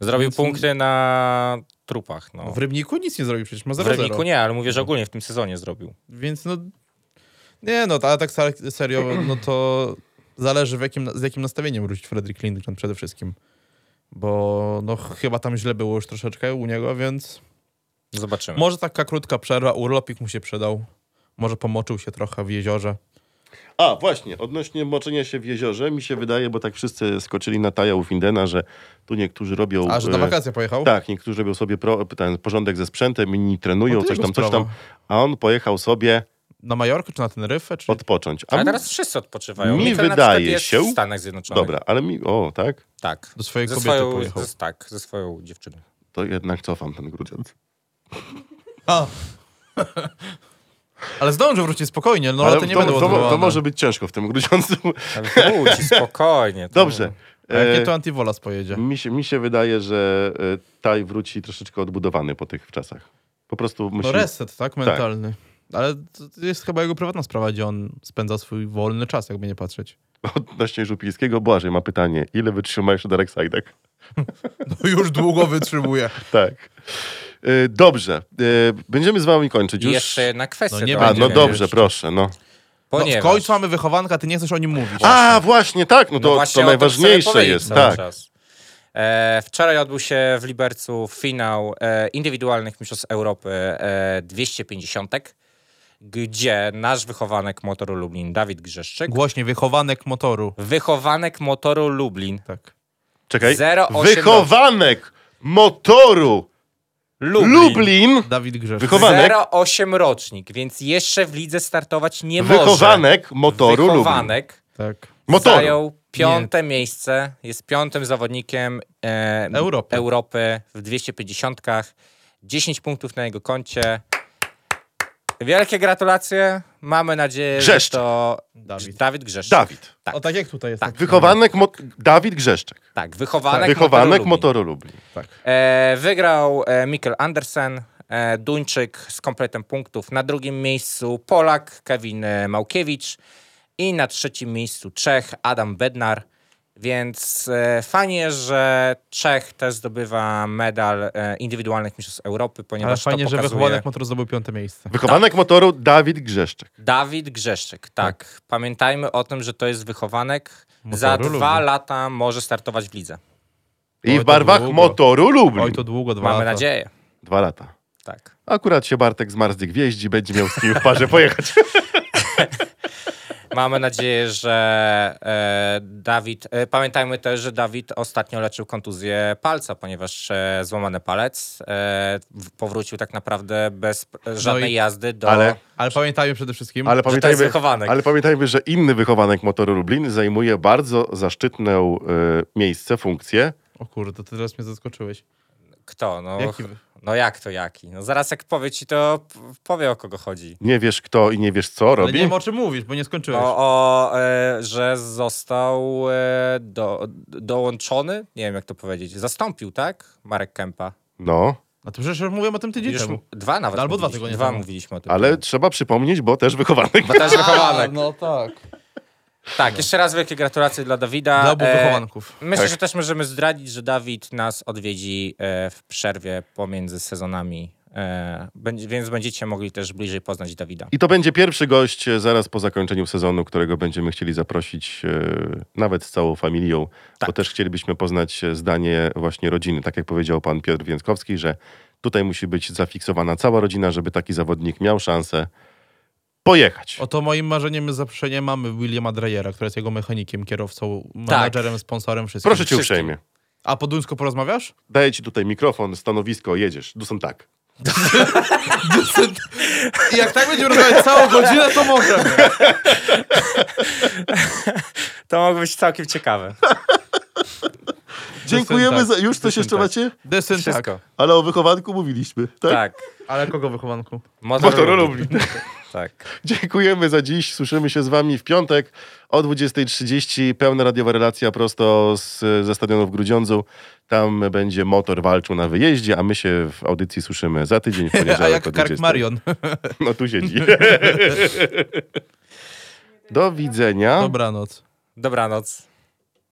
[SPEAKER 4] Zrobił
[SPEAKER 3] Nic-
[SPEAKER 4] punkty na trupach. No.
[SPEAKER 3] W Rybniku nic nie zrobił, przecież ma 0
[SPEAKER 4] W Rybniku nie, ale mówię, że ogólnie w tym sezonie zrobił.
[SPEAKER 3] Więc no. Nie no, ale tak ser- serio, no to zależy w jakim, z jakim nastawieniem wrócić Fredrik Lindgren przede wszystkim. Bo no chyba tam źle było już troszeczkę u niego, więc
[SPEAKER 4] Zobaczymy.
[SPEAKER 3] może taka krótka przerwa, urlopik mu się przydał. Może pomoczył się trochę w jeziorze.
[SPEAKER 2] A, właśnie, odnośnie moczenia się w jeziorze, mi się wydaje, bo tak wszyscy skoczyli na Taja u Findena, że tu niektórzy robią...
[SPEAKER 3] A, że na
[SPEAKER 2] e,
[SPEAKER 3] wakacje pojechał?
[SPEAKER 2] Tak, niektórzy robią sobie pro, ten porządek ze sprzętem, inni trenują,
[SPEAKER 3] No to
[SPEAKER 2] coś
[SPEAKER 3] jego
[SPEAKER 2] tam, coś tam.
[SPEAKER 3] sprawa.
[SPEAKER 2] A on pojechał sobie
[SPEAKER 3] Na Majorkę czy na Teneryfę? Czy...
[SPEAKER 2] odpocząć. A
[SPEAKER 4] Ale
[SPEAKER 2] mi-
[SPEAKER 4] teraz wszyscy odpoczywają.
[SPEAKER 2] mi
[SPEAKER 4] Mikkel na
[SPEAKER 2] wydaje
[SPEAKER 4] przykład jest
[SPEAKER 2] się-
[SPEAKER 4] w Stanach Zjednoczonych.
[SPEAKER 2] Dobra, ale mi... O, tak?
[SPEAKER 4] Tak.
[SPEAKER 3] Do swojej
[SPEAKER 4] Ze
[SPEAKER 3] kobiety
[SPEAKER 4] swoją,
[SPEAKER 3] pojechał.
[SPEAKER 4] ze, tak, ze swoją dziewczyną.
[SPEAKER 2] To jednak cofam ten grudziąc.
[SPEAKER 3] No, A. *laughs* Ale zdążył wrócić spokojnie, no ale, to nie
[SPEAKER 2] to,
[SPEAKER 3] będą
[SPEAKER 2] to, to,
[SPEAKER 3] odwołane.
[SPEAKER 2] może być ciężko w tym grudziącu.
[SPEAKER 4] Ale wróci, spokojnie. to-
[SPEAKER 2] *laughs* Dobrze.
[SPEAKER 3] A jakie to
[SPEAKER 2] E,
[SPEAKER 3] Antivolas pojedzie?
[SPEAKER 2] mi, się, mi się wydaje, że e, Taj wróci troszeczkę odbudowany po tych czasach. Po prostu musi...
[SPEAKER 3] No reset, tak? Mentalny. Ale to jest chyba jego prywatna sprawa, gdzie on spędza swój wolny czas, jakby nie patrzeć.
[SPEAKER 2] *laughs* Odnośnie Żupińskiego, Błażej ma pytanie. Ile wytrzyma jeszcze Darek Sajdek? *laughs*
[SPEAKER 3] No już długo wytrzymuje.
[SPEAKER 2] Tak. E, dobrze. E, będziemy z wami kończyć
[SPEAKER 4] I
[SPEAKER 2] już.
[SPEAKER 4] jeszcze jedna kwestia.
[SPEAKER 3] No nie
[SPEAKER 2] A,
[SPEAKER 3] będzie
[SPEAKER 2] no
[SPEAKER 4] dowiedzenia
[SPEAKER 2] dobrze,
[SPEAKER 4] jeszcze.
[SPEAKER 2] proszę, no.
[SPEAKER 3] No,
[SPEAKER 4] Ponieważ,
[SPEAKER 3] w końcu mamy wychowanka, ty nie chcesz o nim mówić.
[SPEAKER 2] A, właśnie, tak, no
[SPEAKER 4] no
[SPEAKER 2] to,
[SPEAKER 4] właśnie
[SPEAKER 2] to
[SPEAKER 4] o tym no, chcę
[SPEAKER 2] najważniejsze
[SPEAKER 4] powiedzieć
[SPEAKER 2] jest,
[SPEAKER 4] cały
[SPEAKER 2] tak.
[SPEAKER 4] czas. E, wczoraj odbył się w Libercu finał e, indywidualnych mistrzostw Europy e, 250, gdzie nasz wychowanek motoru Lublin, Dawid Grzeszczyk,
[SPEAKER 3] Głośnie, wychowanek motoru.
[SPEAKER 4] wychowanek motoru Lublin,
[SPEAKER 3] Tak.
[SPEAKER 2] Czekaj.
[SPEAKER 4] 0,8
[SPEAKER 2] Wychowanek motoru
[SPEAKER 4] Lublin,
[SPEAKER 2] Lublin.
[SPEAKER 3] Dawid Grzesz.
[SPEAKER 2] Wychowa- Wychowanek.
[SPEAKER 4] 08 rocznik, więc jeszcze w lidze startować nie może.
[SPEAKER 2] Wychowanek motoru Lublin.
[SPEAKER 4] Wychowanek
[SPEAKER 3] tak.
[SPEAKER 2] Motoru.
[SPEAKER 4] zajął piąte miejsce, jest piątym zawodnikiem e,
[SPEAKER 3] Europy.
[SPEAKER 4] Europy w 250. 10 punktów na jego koncie. Wielkie gratulacje. Mamy nadzieję,
[SPEAKER 2] Grzeszczyk.
[SPEAKER 4] że to
[SPEAKER 3] Dawid.
[SPEAKER 4] Dawid, Dawid Grzeszczyk.
[SPEAKER 2] Dawid.
[SPEAKER 4] Tak.
[SPEAKER 3] O tak jak tutaj jest. napisane.
[SPEAKER 2] Wychowanek Mo- Dawid Grzeszczyk.
[SPEAKER 4] Tak, wychowanek,
[SPEAKER 2] Wychowanek
[SPEAKER 4] Motoru Lublin.
[SPEAKER 2] Motoru Lublin.
[SPEAKER 4] E, wygrał e, Mikkel Andersen, e, Duńczyk z kompletem punktów. Na drugim miejscu Polak Kevin e, Małkiewicz i na trzecim miejscu Czech Adam Bednar. Więc e, fajnie, że Czech też zdobywa medal e, indywidualnych mistrzostw Europy,
[SPEAKER 3] Ale
[SPEAKER 4] ponieważ
[SPEAKER 3] fajnie,
[SPEAKER 4] to
[SPEAKER 3] że
[SPEAKER 4] pokazuje...
[SPEAKER 3] wychowanek motor zdobył piąte miejsce.
[SPEAKER 4] Tak.
[SPEAKER 2] Wychowanek Motoru Dawid Grzeszczyk.
[SPEAKER 4] Dawid Grzeszczyk, tak. Pamiętajmy o tym, że to jest wychowanek. Za
[SPEAKER 3] Motoru
[SPEAKER 4] dwa
[SPEAKER 3] Lublin.
[SPEAKER 4] lata może startować w lidze.
[SPEAKER 2] I
[SPEAKER 3] Oj,
[SPEAKER 2] w
[SPEAKER 3] to
[SPEAKER 2] barwach
[SPEAKER 3] długo.
[SPEAKER 2] Motoru
[SPEAKER 3] Oj,
[SPEAKER 2] Lublin.
[SPEAKER 3] to długo, dwa
[SPEAKER 4] Mamy
[SPEAKER 3] lata.
[SPEAKER 4] nadzieję.
[SPEAKER 2] Dwa lata.
[SPEAKER 4] Tak.
[SPEAKER 2] Akurat się Bartek z Marsdyk wjeździ, będzie miał z kim w parze pojechać.
[SPEAKER 4] Mamy nadzieję, że e, Dawid. E, pamiętajmy też, że Dawid ostatnio leczył kontuzję palca, ponieważ e, złamany palec e, w- powrócił tak naprawdę bez e, żadnej
[SPEAKER 3] No i-
[SPEAKER 4] jazdy do.
[SPEAKER 2] Ale-
[SPEAKER 3] Ale pamiętajmy przede wszystkim,
[SPEAKER 2] Ale
[SPEAKER 4] jest
[SPEAKER 2] pamiętajmy,
[SPEAKER 4] wychowanek.
[SPEAKER 2] ale pamiętajmy, że inny wychowanek Motoru Lublin zajmuje bardzo zaszczytne miejsce, funkcję.
[SPEAKER 3] O kurde, to teraz mnie zaskoczyłeś.
[SPEAKER 4] Kto? No,
[SPEAKER 3] Jaki wy-
[SPEAKER 4] no jak to jaki? No zaraz jak powie ci, to p- powie o kogo chodzi.
[SPEAKER 2] Nie wiesz kto i nie wiesz co
[SPEAKER 3] Ale nie
[SPEAKER 2] robi.
[SPEAKER 3] wiem o czym mówisz, bo nie skończyłeś.
[SPEAKER 4] O, o e, że został e, do, dołączony, nie wiem jak to powiedzieć, zastąpił, tak? Marek Kępa.
[SPEAKER 2] No,
[SPEAKER 3] A to przecież mówiłem o tym tydzień
[SPEAKER 4] Już
[SPEAKER 3] temu.
[SPEAKER 4] m- dwa nawet.
[SPEAKER 3] Albo dwa
[SPEAKER 4] mówiliśmy-
[SPEAKER 3] tygodnie
[SPEAKER 4] Dwa
[SPEAKER 3] temu.
[SPEAKER 4] mówiliśmy o tym.
[SPEAKER 2] ale trzeba przypomnieć, bo też wychowanek.
[SPEAKER 4] Bo też wychowanek.
[SPEAKER 3] no tak.
[SPEAKER 4] Tak, jeszcze raz wielkie gratulacje dla Dawida. E,
[SPEAKER 3] Dla obu
[SPEAKER 2] e,
[SPEAKER 3] wychowanków.
[SPEAKER 4] Myślę,
[SPEAKER 2] Tak.
[SPEAKER 4] że też możemy zdradzić, że Dawid nas odwiedzi e, w przerwie pomiędzy sezonami, e, będzie, więc będziecie mogli też bliżej poznać Dawida.
[SPEAKER 2] I to będzie pierwszy gość e, zaraz po zakończeniu sezonu, którego będziemy chcieli zaprosić e, nawet z całą familią,
[SPEAKER 3] Tak.
[SPEAKER 2] bo też chcielibyśmy poznać e, zdanie właśnie rodziny. Tak jak powiedział pan Piotr Więckowski, że tutaj musi być zafiksowana cała rodzina, żeby taki zawodnik miał szansę pojechać.
[SPEAKER 3] Oto moim marzeniem i zaproszeniem mamy Williama Dreyera, który jest jego mechanikiem, kierowcą, menadżerem, sponsorem, wszystkim.
[SPEAKER 2] Tak. Proszę cię
[SPEAKER 4] wszystkim.
[SPEAKER 2] uprzejmie.
[SPEAKER 3] A po duńsku porozmawiasz?
[SPEAKER 2] Daję ci tutaj mikrofon, stanowisko, jedziesz. Dusun tak.
[SPEAKER 3] I *laughs* jak tak będziemy rozmawiać całą godzinę,
[SPEAKER 2] *laughs*
[SPEAKER 3] to możemy.
[SPEAKER 4] To mogło być całkiem ciekawe.
[SPEAKER 2] Dziękujemy
[SPEAKER 3] tak,
[SPEAKER 2] za... Już coś
[SPEAKER 3] dusun
[SPEAKER 2] jeszcze
[SPEAKER 3] tak.
[SPEAKER 2] macie?
[SPEAKER 3] Dysyn tak.
[SPEAKER 4] Wszystko.
[SPEAKER 2] Ale o wychowanku mówiliśmy, tak?
[SPEAKER 4] Tak.
[SPEAKER 3] Ale kogo wychowanku?
[SPEAKER 4] Motor,
[SPEAKER 2] Motor
[SPEAKER 4] Lublin. Tak.
[SPEAKER 2] Dziękujemy za dziś. Słyszymy się z wami w piątek o 20.30. Pełna radiowa relacja prosto z, ze stadionu w Grudziądzu. Tam będzie motor walczył na wyjeździe, a my się w audycji słyszymy za tydzień
[SPEAKER 3] *laughs*
[SPEAKER 2] w poniedziałek
[SPEAKER 3] A
[SPEAKER 2] o
[SPEAKER 3] jak
[SPEAKER 2] 20:00.
[SPEAKER 3] Kark Marion.
[SPEAKER 2] *laughs* No tu
[SPEAKER 3] *laughs*
[SPEAKER 2] siedzi. Do widzenia.
[SPEAKER 3] Dobranoc.
[SPEAKER 4] Dobranoc.